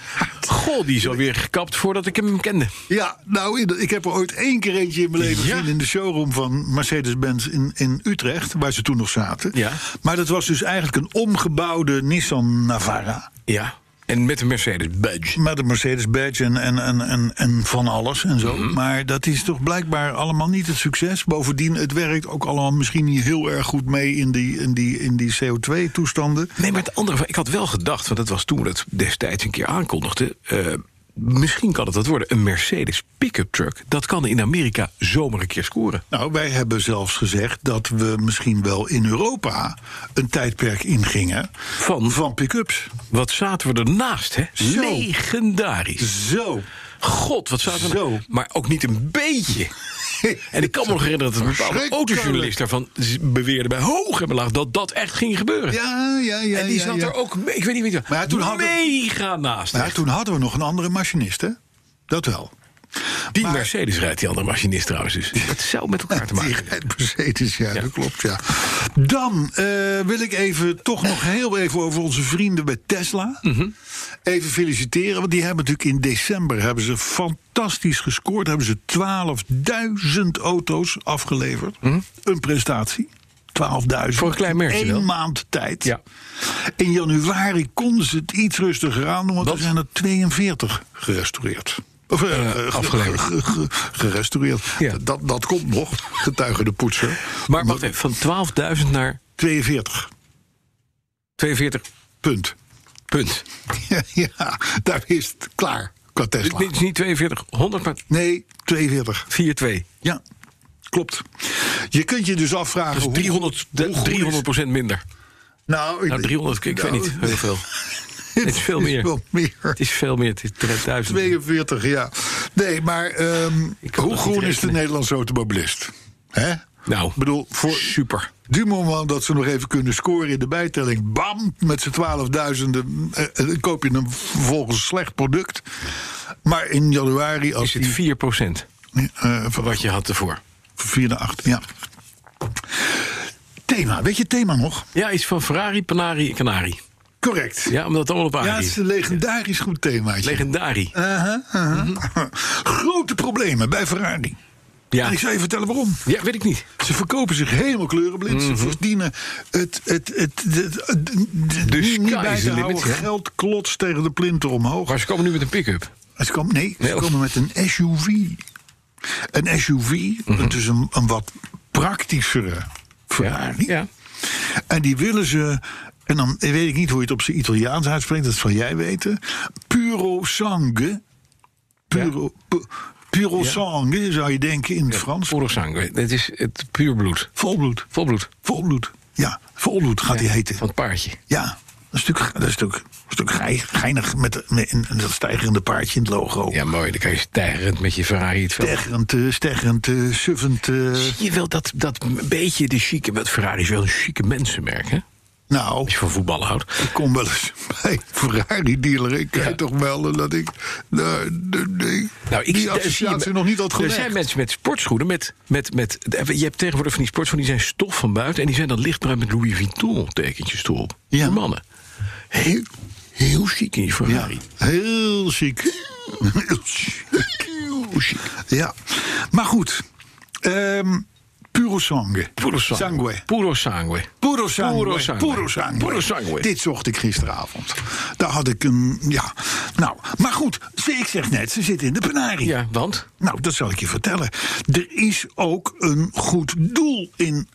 B: Goh, die is alweer gekapt voordat ik hem kende.
C: Ja, nou, in- ik heb er ooit één keer eentje in mijn leven
B: Ja.
C: gezien... in de showroom van Mercedes-Benz in, in Utrecht, waar ze toen nog zaten.
B: Ja.
C: Maar dat was dus eigenlijk een omgebouwde Nissan Navara.
B: Ja. En met een Mercedes badge.
C: Met een Mercedes badge en, en, en, en, en van alles en zo. Maar dat is toch blijkbaar allemaal niet het succes. Bovendien, het werkt ook allemaal misschien niet heel erg goed mee in die, in die, in die CO2-toestanden.
B: Nee, maar het andere, ik had wel gedacht, want dat was toen we dat destijds een keer aankondigden. eh, misschien kan het dat worden. Een Mercedes pick-up truck. Dat kan in Amerika zomaar een keer scoren.
C: Nou, wij hebben zelfs gezegd dat we misschien wel in Europa een tijdperk ingingen
B: Van?
C: van pick-ups.
B: Wat zaten we ernaast, hè?
C: Zo.
B: Legendarisch.
C: Zo.
B: God, wat zaten we
C: Zo.
B: er- Maar ook niet een beetje. En ik kan me nog herinneren dat een bepaalde
C: Verschrikkelijk.
B: autojournalist daarvan z- beweerde bij hoog en belaag dat dat echt ging gebeuren.
C: Ja, ja, ja.
B: en die
C: ja,
B: zat
C: ja.
B: er ook, me- ik weet niet wie het was,
C: Maar ja, toen hadden-
B: mega naast.
C: Maar
B: echt.
C: toen hadden we nog een andere machinist, hè? Dat wel.
B: die Mercedes rijdt die andere machinist trouwens. Dus dat zou met elkaar te maken
C: Die
B: hebben.
C: rijdt Mercedes, ja, dat klopt, ja. Dan eh, wil ik even toch nog heel even over onze vrienden bij Tesla.
B: Mhm.
C: Even feliciteren, want die hebben natuurlijk in december hebben ze fantastisch gescoord. Hebben ze 12.000 auto's afgeleverd. Een prestatie. 12.000.
B: Mhm. Voor een klein merkje
C: Eén
B: wel.
C: maand tijd.
B: Ja.
C: In januari konden ze het iets rustiger aan doen, want
B: Wat?
C: er zijn er 42 gerestaureerd. Of eh,
B: Eh,
C: ge-
B: afgeleverd.
C: ge- ge- gerestaureerd.
B: Ja.
C: Dat, dat komt nog, getuigen de poetser.
B: Maar wacht even, van 12.000 naar
C: 42,
B: 42
C: punt.
B: punt.
C: ja, daar is het klaar qua
B: Dit
C: Tesla.
B: dit is niet 4200, maar
C: Nee, 42.
B: 42.
C: Ja, klopt. Je kunt je dus afvragen...
B: Dat is
C: hoe-
B: 300,
C: hoe goed is-
B: 300 procent minder.
C: Nou, ik-
B: Nou, 300, ik
C: nou,
B: weet niet, heel veel.
C: Het
B: is veel meer.
C: wel meer.
B: Het is veel meer, het is 3000.
C: 42, ja. Nee, maar ehm,
B: Ik kan
C: hoe
B: dat niet
C: groen is de
B: rekenen.
C: Nederlandse automobilist? Hè?
B: Nou,
C: Ik bedoel, voor
B: super.
C: du moment dat ze nog even kunnen scoren in de bijtelling... bam, met z'n 12.000 eh, eh, dan koop je een vervolgens slecht product. Maar in januari als
B: Is het
C: die,
B: 4 procent
C: eh, van
B: wat je had ervoor?
C: 4 naar 8, ja. Thema, weet je het thema nog?
B: Ja, iets van Ferrari, Panari en Canari.
C: Correct.
B: Ja, omdat het allemaal op
C: Ja,
B: aarde
C: het is
B: is.
C: een legendarisch goed themaatje.
B: Legendari.
C: Aha, aha. Grote problemen bij Ferrari.
B: Mhm. Ja.
C: En ik zou je vertellen waarom.
B: ja, weet ik niet.
C: Ze verkopen zich helemaal kleurenblind.
B: Mhm.
C: Ze verdienen het, het, het, het, het- het- het-
B: De
C: niet-
B: sky
C: niet bij
B: is
C: te
B: the limit,
C: houden.
B: ja.
C: Geld klotst tegen de plinten omhoog.
B: Maar ze komen nu met een pick-up.
C: Ze komen, nee, ze
B: Nee, of-
C: komen met een SUV. Een SUV,
B: Mhm.
C: dat is een, een wat praktischere Ferrari.
B: Ja.
C: En die willen ze, en dan weet ik niet hoe je het op zijn Italiaans uitspreekt, dat zal jij weten. Puro sangue. Puro, pu- puro
B: Ja.
C: sangue zou je denken in het Frans.
B: Oorlogsang. Het is het puur bloed.
C: Volbloed.
B: Volbloed.
C: Volbloed. Ja, volbloed gaat die heten.
B: Van het paardje.
C: Ja, een stuk, dat is natuurlijk, een stuk gei- geinig met, de- met- in- in dat stijgerende paardje in het logo.
B: Ja, mooi. Dan kan je stijgerend met je Ferrari het veld.
C: Stijgerend, eh, stijgerend, eh, suffend. eh,
B: Zie je wel dat, dat een beetje de chique... Want Ferrari is wel een chique mensenmerk, hè?
C: nou,
B: Als je van voetballen houdt.
C: ik kom wel eens bij een Ferrari-dealer. Ik kan je toch melden dat ik nou, de- de-
B: Nou, ik daar
C: die
B: zie
C: associatie
B: je-
C: nog niet had gelegd.
B: Er zijn mensen met sportschoenen. Met, met, met, je hebt tegenwoordig van die sportschoenen, die zijn stof van buiten. En die zijn dan lichtbruin met Louis Vuitton-tekentjes erop.
C: Ja.
B: Voor mannen. Heel, heel chic in je
C: ja,
B: Ferrari.
C: heel chic. Heel chic.
B: Heel chic.
C: Ja, maar goed. Ehm puro sangue.
B: Puro sangue.
C: Sangue.
B: Puro sangue.
C: Puro
B: Puro
C: sangue.
B: sangue.
C: Puro sangue.
B: Puro sangue.
C: Dit zocht ik gisteravond. Daar had ik een. Ja. Nou, maar goed. ze- Ik zeg net, ze zitten in de penarie.
B: Ja, want?
C: Nou, dat zal ik je vertellen. Er is ook een goed doel in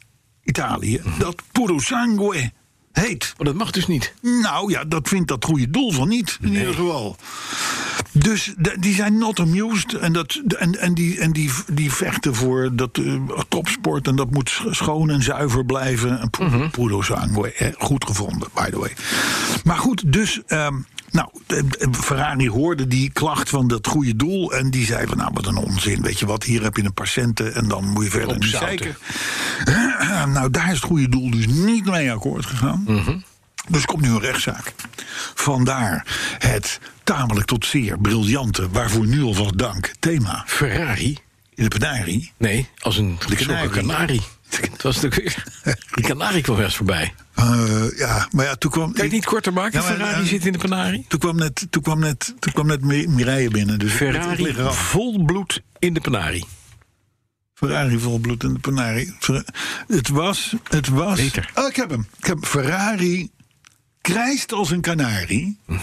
C: Italië. Dat puro sangue heet.
B: Maar dat mag dus niet.
C: Nou ja, dat vindt dat goede doel van niet, in ieder geval. Dus de- die zijn not amused. En, dat, de- en, en, die, en die, die vechten voor dat eh, topsport. En dat moet sch- schoon en zuiver blijven. En pu- Puro sangue, hè, goed gevonden, by the way. Maar goed, dus... ehm, nou, de- de- Ferrari hoorde die klacht van dat goede doel. En die zei van, nou, wat een onzin. Weet je wat, hier heb je een patiënten en dan moet je verder niet
B: Opzouten.
C: zeiken. Nou, daar is het goede doel dus niet mee akkoord gegaan. Dus er komt nu een rechtszaak. Vandaar het tamelijk tot zeer briljante, waarvoor nu alvast dank, thema
B: Ferrari?
C: in de penarie.
B: Nee, als een
C: kanarie.
B: geschrokken kanarie. Het was natuurlijk weer... Die kanarie kwam eens voorbij.
C: Eh, ja, maar ja, toen kwam...
B: Kan je het niet korter maken?
C: Ja, maar,
B: Ferrari
C: eh,
B: zit in de panarie.
C: Toen kwam net, toen kwam net, toen kwam net Mi- Mireille binnen. Dus ik- ik
B: Ferrari
C: lig eraf.
B: vol bloed in de panarie.
C: Ferrari volbloed in de penarie. Fer- Het was, het was...
B: Beter.
C: Oh, ik heb hem. Ik heb hem. Ferrari krijst als een kanarie. En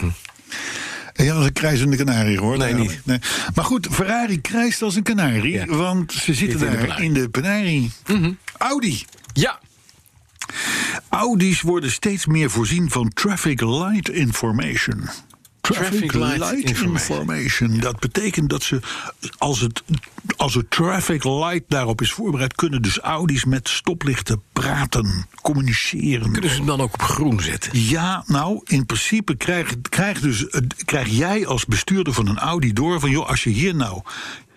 C: Ja, dat is een krijzende kanarie hoor.
B: Mhm. Nee,
C: Daarom.
B: niet.
C: Nee. Maar goed, Ferrari krijst als een kanarie.
B: Ja.
C: Want ze zitten
B: Zit in de Mhm.
C: daar
B: panarie.
C: in de penarie. Audi.
B: Ja.
C: Audi's worden steeds meer voorzien van traffic light information.
B: Traffic light information.
C: information. Dat betekent dat ze, als het, als het traffic light daarop is voorbereid, kunnen dus Audi's met stoplichten praten, communiceren.
B: Kunnen ze hem dan ook op groen zetten?
C: Ja, nou, in principe krijg, krijg, dus, eh, krijg jij als bestuurder van een Audi door van... joh, als je hier nou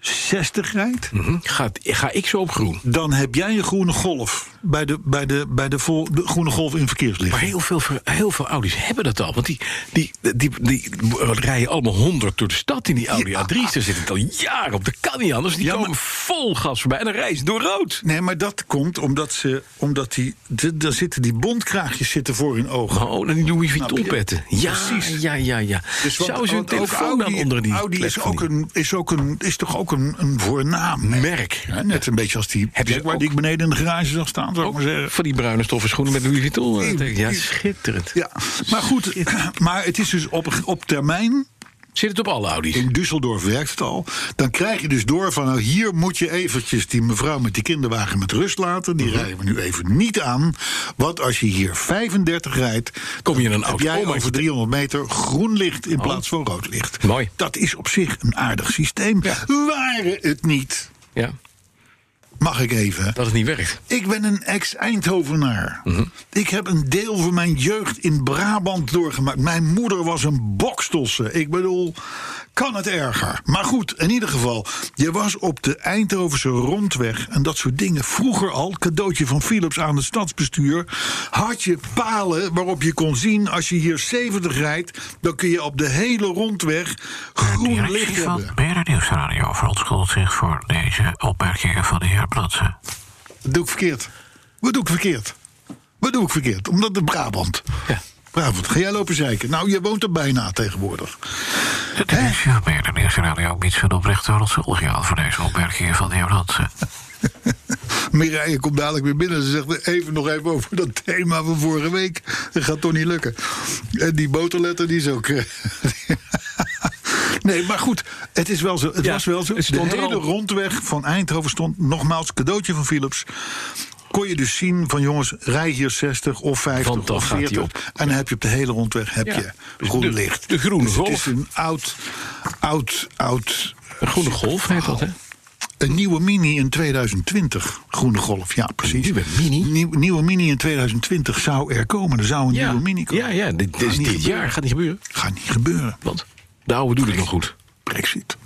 C: 60 rijdt,
B: Hm? Gaat, ga ik zo op groen?
C: dan heb jij een groene golf... bij de, bij de, bij de, vol- de groene golf in
B: Maar
C: verkeerslicht.
B: heel veel, ver- heel veel Audi's hebben dat al. Want die, die, die, die, rijden allemaal honderd door de stad in die Audi
C: Ja.
B: A3's. Daar zit het al jaren op. Dat kan niet anders. Die
C: Ja,
B: komen
C: maar-
B: vol gas voorbij en dan rijden ze door rood.
C: Nee, maar dat komt omdat, ze, omdat die, de- daar zitten die bondkraagjes zitten voor hun ogen.
B: Oh, dan die Louis
C: Snap je?
B: Vuitton-petten. Ja,
C: Precies.
B: ja, ja, ja.
C: Dus want-
B: Zou ze hun
C: want ook
B: telefoon dan
C: Audi-
B: onder die
C: Audi
B: klep
C: is,
B: van
C: ook
B: die-
C: een, is, ook een, is toch ook een, een voornaam merk.
B: merk?
C: Hè, net een beetje als die
B: Heb je
C: Jaguar
B: ook-
C: die ik beneden in de garage zag staan, zou ik maar zeggen.
B: Ook van die bruine stoffen schoenen met Louis Vuitton. eh,
C: Ik-
B: denk ik. Ja,
C: ik-
B: schitterend.
C: Ja, maar goed, maar het is dus op, op termijn.
B: Zit het op alle Audi's?
C: In Düsseldorf werkt het al. Dan krijg je dus door van nou, hier moet je eventjes die mevrouw met die kinderwagen met rust laten. Die rijden we nu even niet aan. Want als je hier 35 rijdt,
B: Kom je in een Oh,
C: heb
B: oud
C: jij
B: omaatje
C: over 300 meter groen licht in plaats van rood licht.
B: Mooi.
C: Dat is op zich een aardig systeem. Waren het niet,
B: Ja,
C: mag ik even,
B: dat het niet werkt.
C: ik ben een ex-Eindhovenaar. Ik heb een deel van mijn jeugd in Brabant doorgemaakt. Mijn moeder was een bokstosse. Ik bedoel, kan het erger. Maar goed, in ieder geval, je was op de Eindhovense rondweg en dat soort dingen. Vroeger al, cadeautje van Philips aan het stadsbestuur, had je palen waarop je kon zien als je hier 70 rijdt, dan kun je op de hele rondweg groen licht
E: Directie van
C: hebben.
E: BNR Nieuwsradio verontschuldigt zich voor deze opmerkingen van de heer Blatsen.
C: Dat doe ik verkeerd. Wat doe ik verkeerd? Wat doe ik verkeerd? Omdat het Brabant.
B: Ja.
C: Brabant, ga jij lopen zeiken? Nou, je woont er bijna tegenwoordig.
E: De directie van BNR Nieuwsradio biedt zijn oprechte verontschuldiging aan voor deze opmerkingen van de heer Blatsen.
C: Mireille komt dadelijk weer binnen. Ze zegt even nog even over dat thema van vorige week. Dat gaat toch niet lukken. En die boterletter, die is ook... eh, Nee, maar goed, het, is wel zo, het
B: Ja,
C: was wel zo.
B: het stond
C: de
B: er
C: hele
B: al.
C: rondweg van Eindhoven stond nogmaals cadeautje van Philips. Kon je dus zien van jongens, rij hier 60 of 50
B: Want dan
C: of
B: gaat die
C: 40.
B: op.
C: En dan heb je op de hele rondweg heb
B: Ja,
C: je
B: dus
C: groen
B: de-
C: licht.
B: de groene
C: dus het
B: golf.
C: is een oud, oud, oud...
B: Een groene golf heet dat, hè?
C: Een nieuwe Mini in 2020. Groene Golf, ja, precies.
B: nieuwe Mini?
C: Nieuw- nieuwe Mini in 2020 zou er komen. Er zou een
B: Ja,
C: nieuwe Mini komen.
B: ja, ja. Dit, dit, is
C: Gaat niet
B: dit
C: gebeuren.
B: jaar gaat niet gebeuren.
C: Gaat niet gebeuren.
B: Want de oude doet het nog goed.
C: Brexit.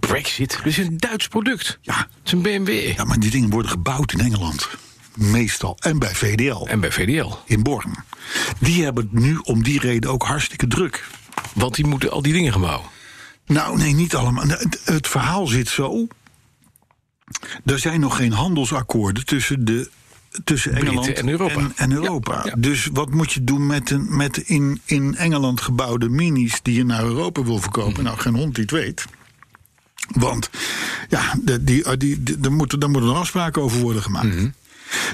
B: Brexit. Het is een Duits product.
C: Ja.
B: Het is een BMW.
C: Ja, maar die dingen worden gebouwd in Engeland. Meestal. En bij VDL.
B: En bij VDL.
C: In Born. Die hebben het nu om die reden ook hartstikke druk.
B: Want die moeten al die dingen gaan bouwen.
C: Nou, nee, niet allemaal. Het, het verhaal zit zo. Er zijn nog geen handelsakkoorden tussen, de, tussen
B: Britten
C: Engeland
B: en Europa.
C: En, en Europa.
B: ja.
C: Dus wat moet je doen met, een, met in, in Engeland gebouwde minis die je naar Europa wil
B: Mhm.
C: verkopen? Nou, geen hond die het weet. Want ja, de, die, eh, die, die- daar moeten daar moeten er afspraken over worden gemaakt.
B: Mhm.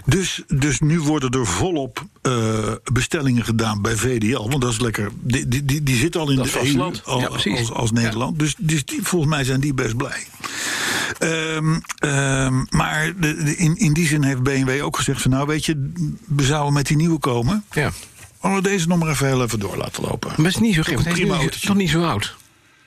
C: Dus, dus nu worden er volop eh, bestellingen gedaan bij VDL. Want dat is lekker. Die, die, die, die zit al in
B: Dat
C: de EU
B: vasteland.
C: al-
B: Ja,
C: als,
B: precies.
C: als, Nederland. Dus, dus die, volgens mij zijn die best blij. Ehm, ehm, maar de, de- in, in die zin heeft BMW ook gezegd: van, Nou, weet je, we zouden met die nieuwe komen.
B: Ja.
C: Laten we deze nog maar even heel even door laten lopen.
B: Maar het is niet zo gek.
C: Ook
B: want
C: een
B: Hij is
C: prima
B: nu
C: autootje.
B: nog niet zo oud.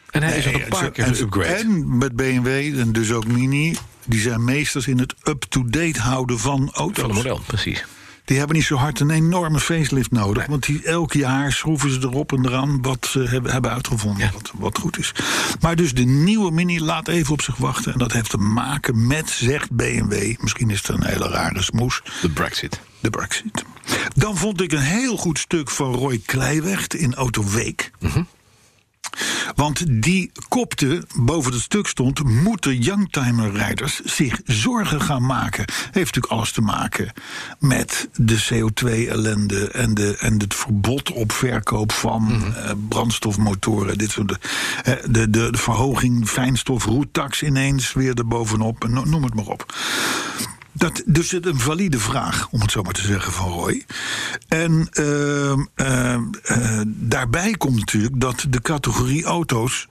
B: En hij is al een
C: Nee,
B: paar
C: en-
B: keer
C: en-
B: geüpgrade.
C: En met BMW, en dus ook Mini, die zijn meesters in het up-to-date houden van auto's.
B: Van het model, precies.
C: Die hebben niet zo hard een enorme facelift nodig. Want die, elk jaar schroeven ze erop en eraan wat ze hebben, hebben uitgevonden.
B: Ja.
C: Wat, wat goed is. Maar dus de nieuwe Mini laat even op zich wachten. En dat heeft te maken met, zegt BMW... misschien is het een hele rare smoes,
B: De Brexit.
C: de brexit. Dan vond ik een heel goed stuk van Roy Kleiwecht in Autoweek. Want die kopte, boven het stuk stond... moeten youngtimer-rijders zich zorgen gaan maken. Heeft natuurlijk alles te maken met de CO2-ellende... En, de, en het verbod op verkoop van eh, brandstofmotoren. Dit soort, eh, de, de, de verhoging fijnstof, roettax ineens weer erbovenop. en no- Noem het maar op. Dat, dus het een valide vraag, om het zo maar te zeggen, van Roy. En ehm, ehm, eh, daarbij komt natuurlijk dat de categorie auto's,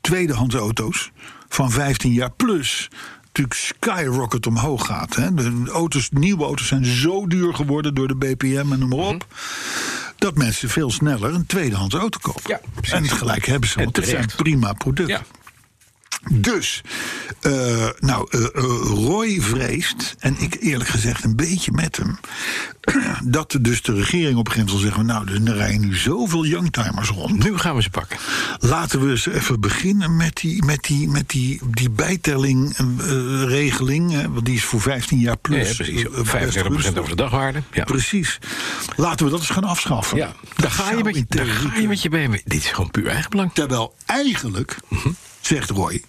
C: tweedehands auto's, van 15 jaar plus natuurlijk skyrocket omhoog gaat. Hè? De auto's, nieuwe auto's zijn zo duur geworden door de BPM en noem maar op.
B: Mhm.
C: Dat mensen veel sneller een tweedehands auto kopen.
B: Ja, precies.
C: en gelijk hebben ze,
B: En
C: want het zijn
B: terecht.
C: prima producten.
B: Ja.
C: Dus, eh, nou, eh, eh, Roy vreest, en ik eerlijk gezegd een beetje met hem, dat dus de regering op een gegeven moment zal zeggen: Nou, er rijden nu zoveel youngtimers rond.
B: Nu gaan we ze pakken.
C: Laten we eens even beginnen met die, met die, met die, die bijtellingregeling, want die is voor 15 jaar plus.
B: ja, precies.
C: eh, eh, best
B: 35%
C: gunstig.
B: over de dagwaarde. Ja.
C: Precies. Laten we dat eens gaan afschaffen.
B: Ja, daar ga, je
C: zou
B: met, je-
C: in
B: daar
C: theorie
B: ga je met je BMW. Dit is gewoon puur eigenbelang.
C: Terwijl eigenlijk, zegt Roy,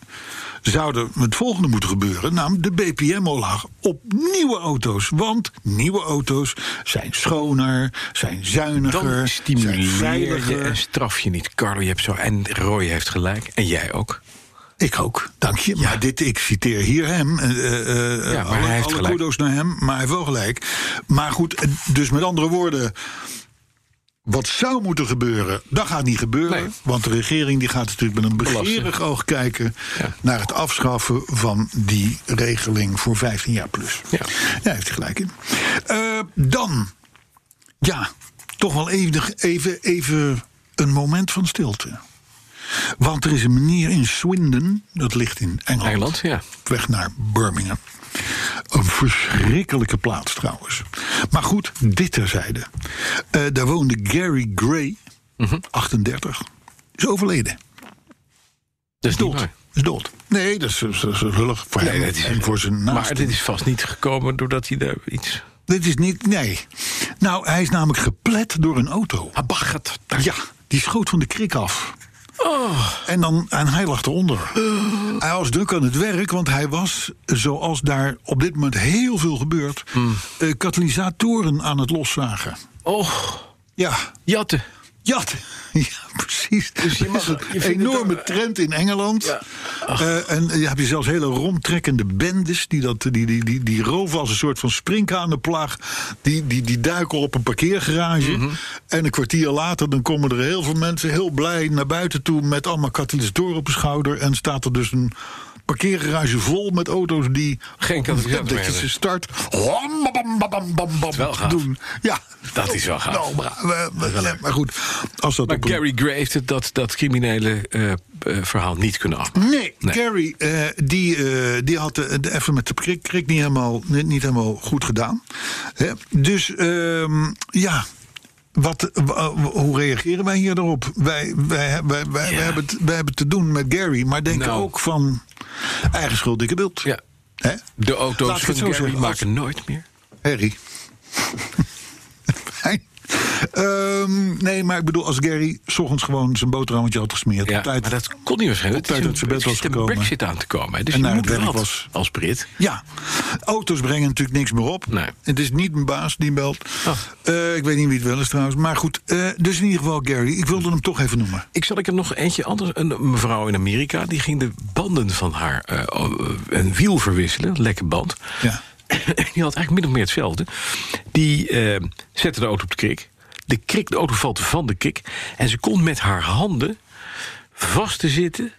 C: zou er het volgende moeten gebeuren. Namelijk de BPM omlaag op nieuwe auto's. Want nieuwe auto's zijn schoner, zijn
B: Dan
C: zuiniger, zijn
B: stimuleer je
C: veiliger.
B: en straf je niet. Carlo, je hebt zo. En Roy heeft gelijk. En jij ook.
C: Ik ook, dank je. Maar dit, ik citeer hier hem. eh, eh, eh,
B: Ja, maar
C: alle
B: hij heeft
C: alle
B: gelijk.
C: kudo's naar hem, maar hij heeft wel gelijk. Maar goed, eh, dus met andere woorden... Wat zou moeten gebeuren, dat gaat niet gebeuren.
B: Nee.
C: Want de regering die gaat natuurlijk met een
B: Belasten.
C: begeerig oog kijken...
B: Ja.
C: naar het afschaffen van die regeling voor 15 jaar plus.
B: Ja.
C: Daar heeft hij gelijk in. Eh, dan, ja, toch wel even, even, even een moment van stilte. Want er is een meneer in Swindon, dat ligt in Engeland,
B: Engeland, ja.
C: op weg naar Birmingham. Een verschrikkelijke plaats trouwens. Maar goed, dit terzijde. Eh, daar woonde Gary Gray,
B: Mhm.
C: 38, is overleden.
B: Dat is
C: Is dood.
B: niet waar.
C: Is dood. Nee, dat is, dat is- dat is lullig voor hem
B: Nee, dat is-
C: en voor zijn naasten.
B: Maar dit is vast niet gekomen doordat hij daar iets...
C: Dit is niet, nee. Nou, hij is namelijk geplet door een auto.
B: Abagat.
C: Ja, die schoot van de krik af. En, dan, en hij lag eronder. Hij was druk aan het werk, want hij was, zoals daar op dit moment heel veel gebeurt, eh, katalysatoren aan het loszagen.
B: Oh,
C: Ja,
B: jatten.
C: Jat. Ja, precies. Dus
B: je mag- je
C: een
B: vindt het
C: enorme
B: ook, eh,
C: trend in Engeland. Eh, en eh, je heb je zelfs hele rondtrekkende bendes... die, dat, die, die, die, die roven als een soort van springkanenplaag. Die, die, die duiken op een parkeergarage.
B: Mhm.
C: En een kwartier later dan komen er heel veel mensen... heel blij naar buiten toe met allemaal katalysatoren op hun schouder. En staat er dus een parkeergarage vol met auto's die...
B: Geen katalysator
C: Dat
B: meer
C: je ze
B: hebben.
C: start... Hom, bam, bam, bam, bam, bam,
B: wel gaaf.
C: doen. Ja.
B: Dat is wel gaaf.
C: Nou, maar, we- we- maar goed, als dat
B: Maar
C: op een-
B: Gary Gray heeft het, dat, dat criminele eh, eh, verhaal niet kunnen afmaken.
C: Nee,
B: Nee.
C: Gary, eh, die, eh, die had de, de- even met de krik, krik niet, helemaal, niet, niet helemaal goed gedaan. Hè? Dus ehm, ja, wat, eh, wa- hoe reageren wij hier daarop? Wij, wij, wij, wij, wij
B: Ja.
C: hebben, het, wij hebben het te doen met Gary, maar denken
B: Nou.
C: ook van eigen schuld, dikke bult.
B: Ja.
C: Hè?
B: De
C: Laat
B: auto's
C: ik het
B: van
C: zo
B: Gary
C: zeggen, als-
B: maken nooit meer.
C: Harry. Fijn. Ehm, nee, maar ik bedoel, als Gary 's ochtends gewoon zijn boterhammetje had gesmeerd.
B: Ja,
C: op tijd-
B: maar dat kon niet waarschijnlijk.
C: Op tijd
B: Het
C: uit
B: is
C: zijn
B: een-
C: bed
B: er
C: was
B: zit een
C: gekomen.
B: brexit aan te komen. hè. Dus
C: En
B: je
C: naar
B: moet
C: het werk
B: wat
C: was.
B: als Brit.
C: Ja, auto's brengen natuurlijk niks meer op.
B: Nee.
C: Het is niet mijn baas die belt.
B: Ah.
C: Eh, ik weet niet wie het wel is trouwens. Maar goed, eh, dus in ieder geval Gary. Ik wilde hem toch even noemen.
B: Ik zal ik hem nog eentje anders. Een mevrouw in Amerika die ging de banden van haar eh, oh, eh, een wiel verwisselen, lekker band.
C: Ja.
B: Die had eigenlijk min of meer hetzelfde. Die eh, zette de auto op de krik. De krik, de auto valt van de krik. En ze kon met haar handen vast te zitten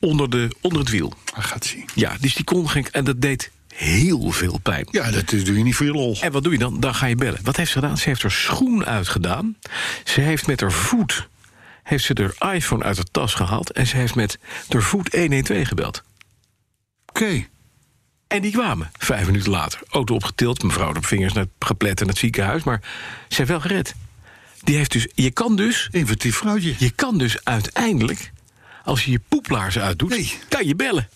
B: onder, de, onder het wiel.
C: Hij gaat zien.
B: Ja, dus die kon geen. En dat deed heel veel pijn.
C: Ja, dat is, doe je niet voor je lol.
B: En wat doe je dan? Dan ga je bellen. Wat heeft ze gedaan? Ze heeft haar schoen uitgedaan. Ze heeft met haar voet heeft ze haar iPhone uit haar tas gehaald. En ze heeft met haar voet 112 gebeld.
C: Oké.
B: En die kwamen vijf minuten later. Auto opgetild, mevrouw op vingers naar, geplet in het ziekenhuis. Maar ze heeft wel gered. Die heeft dus, je, kan dus,
C: Inventief vrouwtje.
B: je kan dus uiteindelijk, als je je poeplaars uitdoet,
C: Nee.
B: kan je bellen.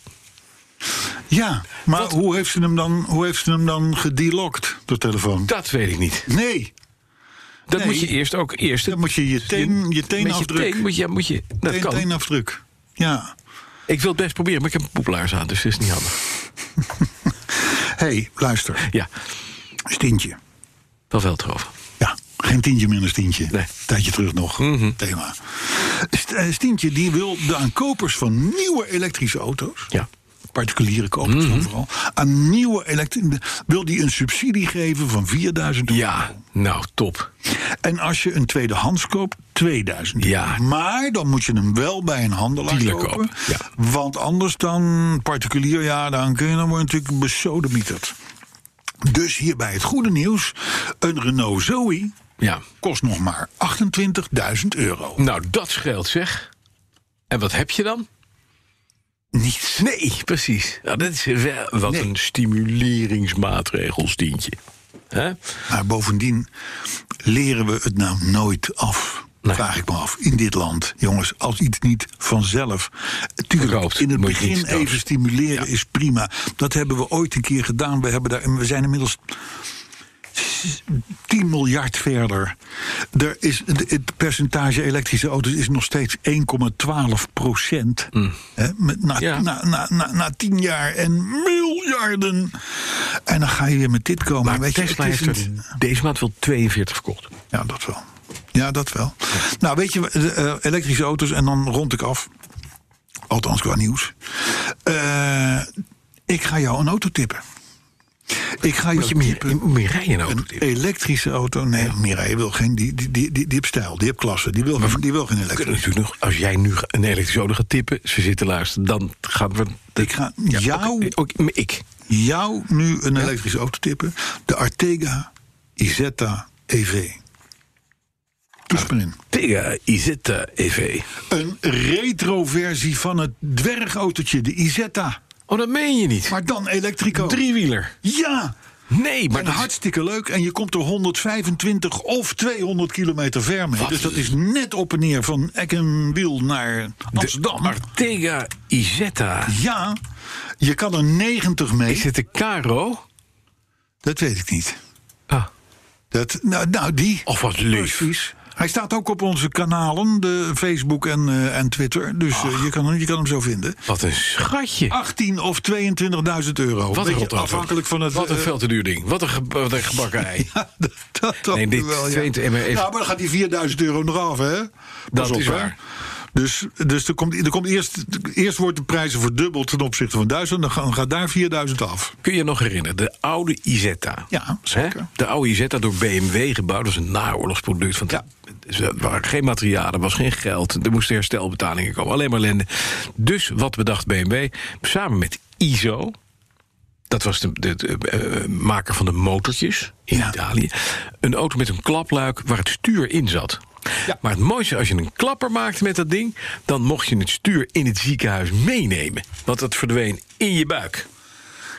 C: Ja, maar
B: Wat-
C: hoe heeft ze hem dan, hoe heeft ze hem dan gedelocked, de telefoon?
B: Dat weet ik niet.
C: Nee,
B: Dat
C: Nee.
B: moet je eerst ook eerst.
C: dan moet je je teen, je
B: met je
C: teenafdruk.
B: teen moet je, moet je, dat
C: teen,
B: kan.
C: teenafdruk. Ja.
B: Ik wil het best proberen, maar ik heb poeplaars aan, dus dat is niet handig.
C: hey, luister.
B: Ja,
C: Stientje.
B: wel Veldhoven.
C: Ja, geen tientje minder stientje.
B: Nee. Mhm.
C: Tijdje terug nog, thema. St- eh, Stientje die wil de aankopers van nieuwe elektrische auto's...
B: Ja. Mhm.
C: particulieren kopers dan vooral, aan nieuwe elektrische... wil die een subsidie geven van 4000 euro.
B: Ja, nou, top.
C: En als je een tweedehands koopt, 2000 euro.
B: Ja.
C: Maar dan moet je hem wel bij een handelaar
B: Dealer
C: kopen.
B: kopen, ja.
C: Want anders dan particulier, ja, dan kun je dan worden natuurlijk besodemieterd. Dus hierbij het goede nieuws. Een Renault Zoe
B: Ja.
C: kost nog maar 28.000 euro.
B: Nou, dat scheelt zeg. En wat heb je dan?
C: Niets.
B: Nee, precies. Nou, dat is wel wat
C: Nee.
B: een stimuleringsmaatregel, Stientje. Hè?
C: Maar bovendien leren we het nou nooit af.
B: Nee.
C: Vraag ik me af. In dit land, jongens, als iets niet vanzelf. Tuurlijk,
B: Verkoopt,
C: in het
B: moet je niet
C: begin
B: verkopen.
C: even stimuleren is prima. Dat hebben we ooit een keer gedaan. We, hebben daar, en we zijn inmiddels 10 miljard verder. Er is, de- het percentage elektrische auto's is nog steeds 1,12 procent. Hè, met- na,
B: Mm. Ja.
C: na, na, na, na 10 jaar en miljarden. En dan ga je weer met dit komen.
B: Maar
C: Weet je,
B: Tesla
C: het is
B: heeft er
C: een-
B: deze maand wel 42 verkocht.
C: ja, dat wel. Ja, dat wel. Nou, weet je, eh, elektrische auto's en dan rond ik af. Althans qua nieuws. Eh, ik ga jou een auto tippen. Ik ga
B: Moet
C: jou
B: je meer,
C: tippen.
B: je moet meer rijden in een auto?
C: Een elektrische auto? Nee, Mira, je wil geen. Die, die, die, die, die heeft stijl, die heeft klasse. Die wil, geen- die wil geen
B: We kunnen
C: elektrische.
B: natuurlijk nog, als jij nu een elektrische auto gaat tippen, ze zitten luisteren, dan gaan we.
C: Ik ga jou,
B: Ook, ook- ik.
C: jou nu een elektrische auto tippen. De Artega Isetta EV. Toets maar in.
B: Tegen Izetta EV.
C: Een retroversie van het dwergautootje, de Isetta.
B: Oh, dat meen je niet.
C: Maar dan elektrico.
B: Driewieler.
C: Ja,
B: Nee, maar
C: en
B: dat is-
C: hartstikke leuk. En je komt er 125 of 200 kilometer ver mee.
B: Wat?
C: Dus dat is net op en neer van Eckenwiel naar Amsterdam.
B: Artega Izetta.
C: Ja, je kan er 90 mee.
B: Is het een Caro?
C: Dat weet ik niet.
B: Ah.
C: Dat, nou, nou, die.
B: Of Oh, wat lief.
C: Precies. Hij staat ook op onze kanalen, de Facebook en, eh, en Twitter. Dus eh, je, kan, hem- je kan hem zo vinden.
B: Wat een schatje.
C: 18 of 22.000 euro.
B: wat een
C: Oh, Beetje
B: rotauto.
C: afhankelijk van het...
B: Wat een
C: eh,
B: veel te duur ding. Wat een, ge- wat een gebakken ei.
C: dat, dat dan
B: Nee, dit
C: wel, ja.
B: tweede- en maar even-
C: Nou, maar dan gaat die 4000 euro nog af, hè? Pas
B: Dat is
C: hè?
B: waar.
C: Dus, dus er komt, er komt eerst, eerst wordt de prijzen verdubbeld ten opzichte van Duitsland. Dan gaan- gaat daar 4000 af.
B: Kun je je nog herinneren? De oude Izetta.
C: Ja, zeker.
B: Hè? De oude Izetta door BMW gebouwd. Dat was een naoorlogsproduct. Want
C: Ja.
B: er waren geen materialen, er was geen geld. Er moesten herstelbetalingen komen. Alleen maar ellende. Dus wat bedacht BMW? Samen met ISO. Dat was de, de- de, eh, maker van de motortjes in
C: Ja.
B: Italië. Een auto met een klapluik waar het stuur in zat.
C: Ja.
B: Maar het mooiste, als je een klapper maakte met dat ding... dan mocht je het stuur in het ziekenhuis meenemen. Want dat verdween in je buik.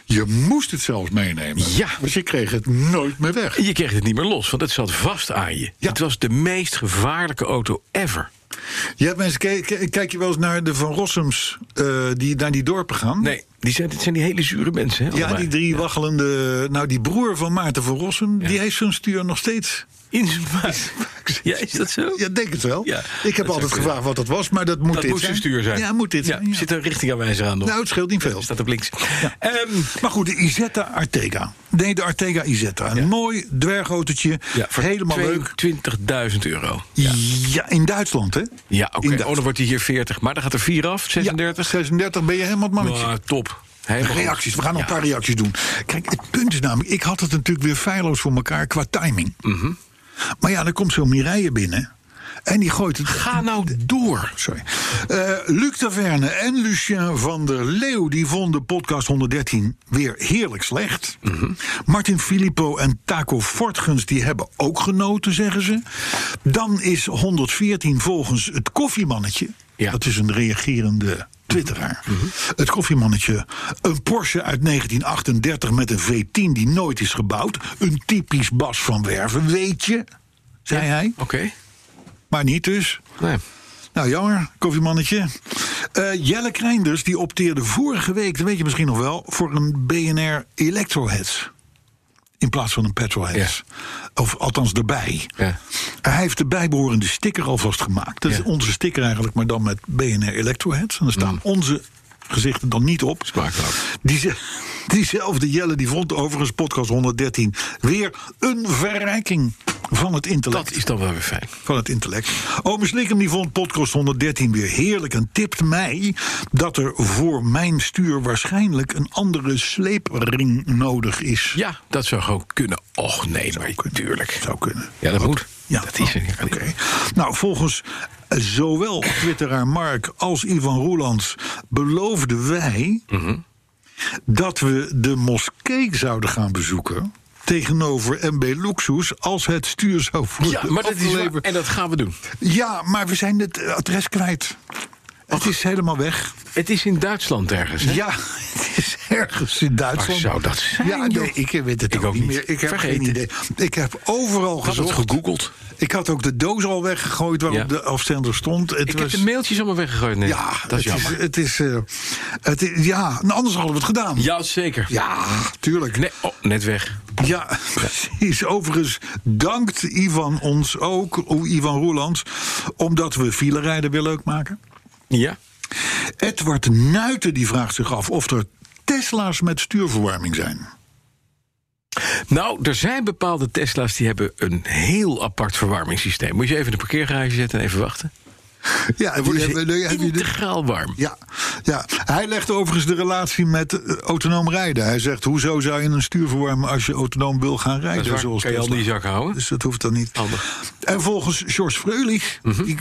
C: Je moest het zelfs meenemen.
B: Ja.
C: Want je kreeg het nooit meer weg.
B: Je kreeg het niet meer los, want het zat vast aan je.
C: Ja.
B: Het was de meest gevaarlijke auto ever.
C: Je hebt mensen, kijk, kijk- kijk je wel eens naar de Van Rossums eh, die naar die dorpen gaan?
B: Nee, die zijn, dit zijn die hele zure mensen. Hè,
C: Ja,
B: allebei.
C: die drie waggelende... Nou, die broer van Maarten van Rossum, die heeft zo'n stuur nog steeds.
B: In zijn buik. Ja, is dat zo?
C: Ja, denk het wel.
B: Ja,
C: Ik heb
B: dat
C: altijd
B: zou kunnen.
C: gevraagd wat dat was, maar dat moet
B: dat
C: dit
B: moet zijn stuur zijn.
C: Ja, moet dit zijn. ja.
B: Zit er een richtingaanwijzer aan nog.
C: Nou, het scheelt niet veel.
B: Staat op links. Ehm,
C: Maar goed, de Isetta Artega. Nee, de Artega Isetta. Een mooi dwergautootje.
B: ja, voor
C: helemaal leuk.
B: 20.000 euro.
C: Ja. in Duitsland, hè?
B: Ja, oké.
C: In
B: Oh,
C: Duitsland.
B: dan wordt hij hier 40. Maar dan gaat er 4 af,
C: Ja,
B: 36.
C: 36 ben je helemaal het mannetje.
B: Maar top. Helemaal goed.
C: Reacties, we gaan nog
B: Ja.
C: een paar reacties doen. Kijk, het punt is namelijk, ik had het natuurlijk weer feilloos voor elkaar qua timing.
B: Mhm.
C: Maar ja, dan komt zo'n Mireille binnen en die gooit het...
B: Ga nou door.
C: Sorry. Eh, Luc Taverne en Lucien van der Leeuw die vonden podcast 113 weer heerlijk slecht. Martin Filippo en Taco Fortgens die hebben ook genoten, zeggen ze. Dan is 114 volgens het koffiemannetje.
B: Ja.
C: Dat is een reagerende twitteraar. Het koffiemannetje. Een Porsche uit 1938 met een V10 die nooit is gebouwd. Een typisch Bas van Werven, weet je, zei hij.
B: Oké.
C: Maar niet dus.
B: Nee.
C: Nou, jammer, koffiemannetje. Eh, Jelle Kreinders die opteerde vorige week, dat weet je misschien nog wel, voor een BNR Electroheads. In plaats van een petrolheads. Of althans erbij.
B: Ja.
C: Hij heeft de bijbehorende sticker alvast gemaakt. Dat
B: Ja. Mm.
C: is onze sticker eigenlijk, maar dan met BNR Electroheads. En daar staan onze gezichten dan niet op.
B: Smaakloos.
C: Die ze- diezelfde Jelle die vond overigens podcast 113 weer een verrijking. van het intellect.
B: Dat is dan wel weer fijn.
C: van het intellect. Oom Slikkem die vond podcast 113 weer heerlijk en tipt mij dat er voor mijn stuur waarschijnlijk een andere sleepring nodig is.
B: Ja, dat zou gewoon kunnen. Och nee, maar tuurlijk.
C: Zou kunnen.
B: Ja, dat moet.
C: Ja, Oh,
B: dat is er niet.
C: Oké. Nou, volgens zowel twitteraar Mark als Ivan Roelands beloofden wij
B: Mhm.
C: dat we de moskee zouden gaan bezoeken. Tegenover MB Luxus als het stuur zou worden
B: Ja, maar dat is waar.
C: afgeleverd.
B: En dat gaan we doen.
C: Ja, maar we zijn het adres kwijt. Het is helemaal weg.
B: Het is in Duitsland ergens. Hè?
C: Ja, het is ergens in Duitsland.
B: Waar zou dat zijn,
C: Ja, nee, ik weet het
B: Ik
C: ook
B: ook
C: niet
B: niet.
C: meer. Ik heb
B: Vergeten.
C: geen idee. Ik heb overal
B: had het
C: gezocht.
B: gegoogeld.
C: Ik had ook de doos al weggegooid waarop
B: Ja.
C: de afzender stond. Het
B: Ik
C: was,
B: heb de mailtjes allemaal weggegooid. Nee,
C: ja,
B: dat is
C: het
B: jammer.
C: Is, het is, eh, het is- ja, nou, anders hadden we het gedaan.
B: Jazeker.
C: Ja, tuurlijk.
B: Nee, oh, net weg.
C: Ja, precies. Overigens dankt Ivan ons ook, o, Ivan Roelands, omdat we filerijden weer leuk maken.
B: Ja.
C: Edward Nuiten die vraagt zich af of er Tesla's met stuurverwarming zijn.
B: Nou, er zijn bepaalde Tesla's die hebben een heel apart verwarmingssysteem. Moet je even in de parkeergarage zetten en even wachten.
C: Ja,
B: Dan worden
C: die hebben-
B: ze
C: die hebben-
B: integraal warm.
C: ja, ja, hij legt overigens de relatie met eh, autonoom rijden. Hij zegt, hoezo zou je een stuur verwarmen als je autonoom wil gaan
B: Dat
C: rijden?
B: is waar.
C: zoals
B: kan je al
C: Tesla.
B: die zak houden.
C: Dus dat hoeft dan niet.
B: Handig. Mhm.
C: En volgens George Freulich, die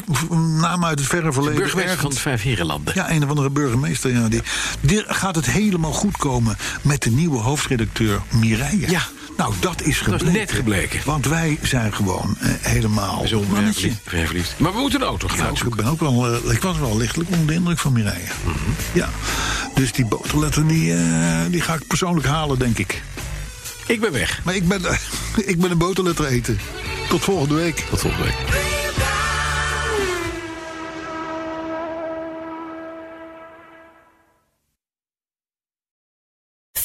C: naam uit het verre verleden...
B: Burgemeester van
C: ergens-
B: de Vijf Herenlanden.
C: Ja, een of andere burgemeester. Ja, die, die gaat het helemaal goed komen met de nieuwe hoofdredacteur Mireille.
B: Ja.
C: Nou, dat is
B: is
C: gebleken.
B: net gebleken.
C: Want wij zijn gewoon eh, helemaal...
B: Bijzonder
C: mannetje.
B: verliefd, verliefd. Maar we moeten een auto gaan
C: Ja,
B: uitzoeken.
C: ik, ben ook wel, eh, ik was wel lichtelijk onder de indruk van Mireille.
B: Mhm.
C: Ja. Dus die boterletter die, eh, die ga ik persoonlijk halen, denk ik.
B: Ik ben weg.
C: Maar ik ben, ik ben een boterletter eten. Tot volgende week.
B: Tot volgende week.
F: ...50.000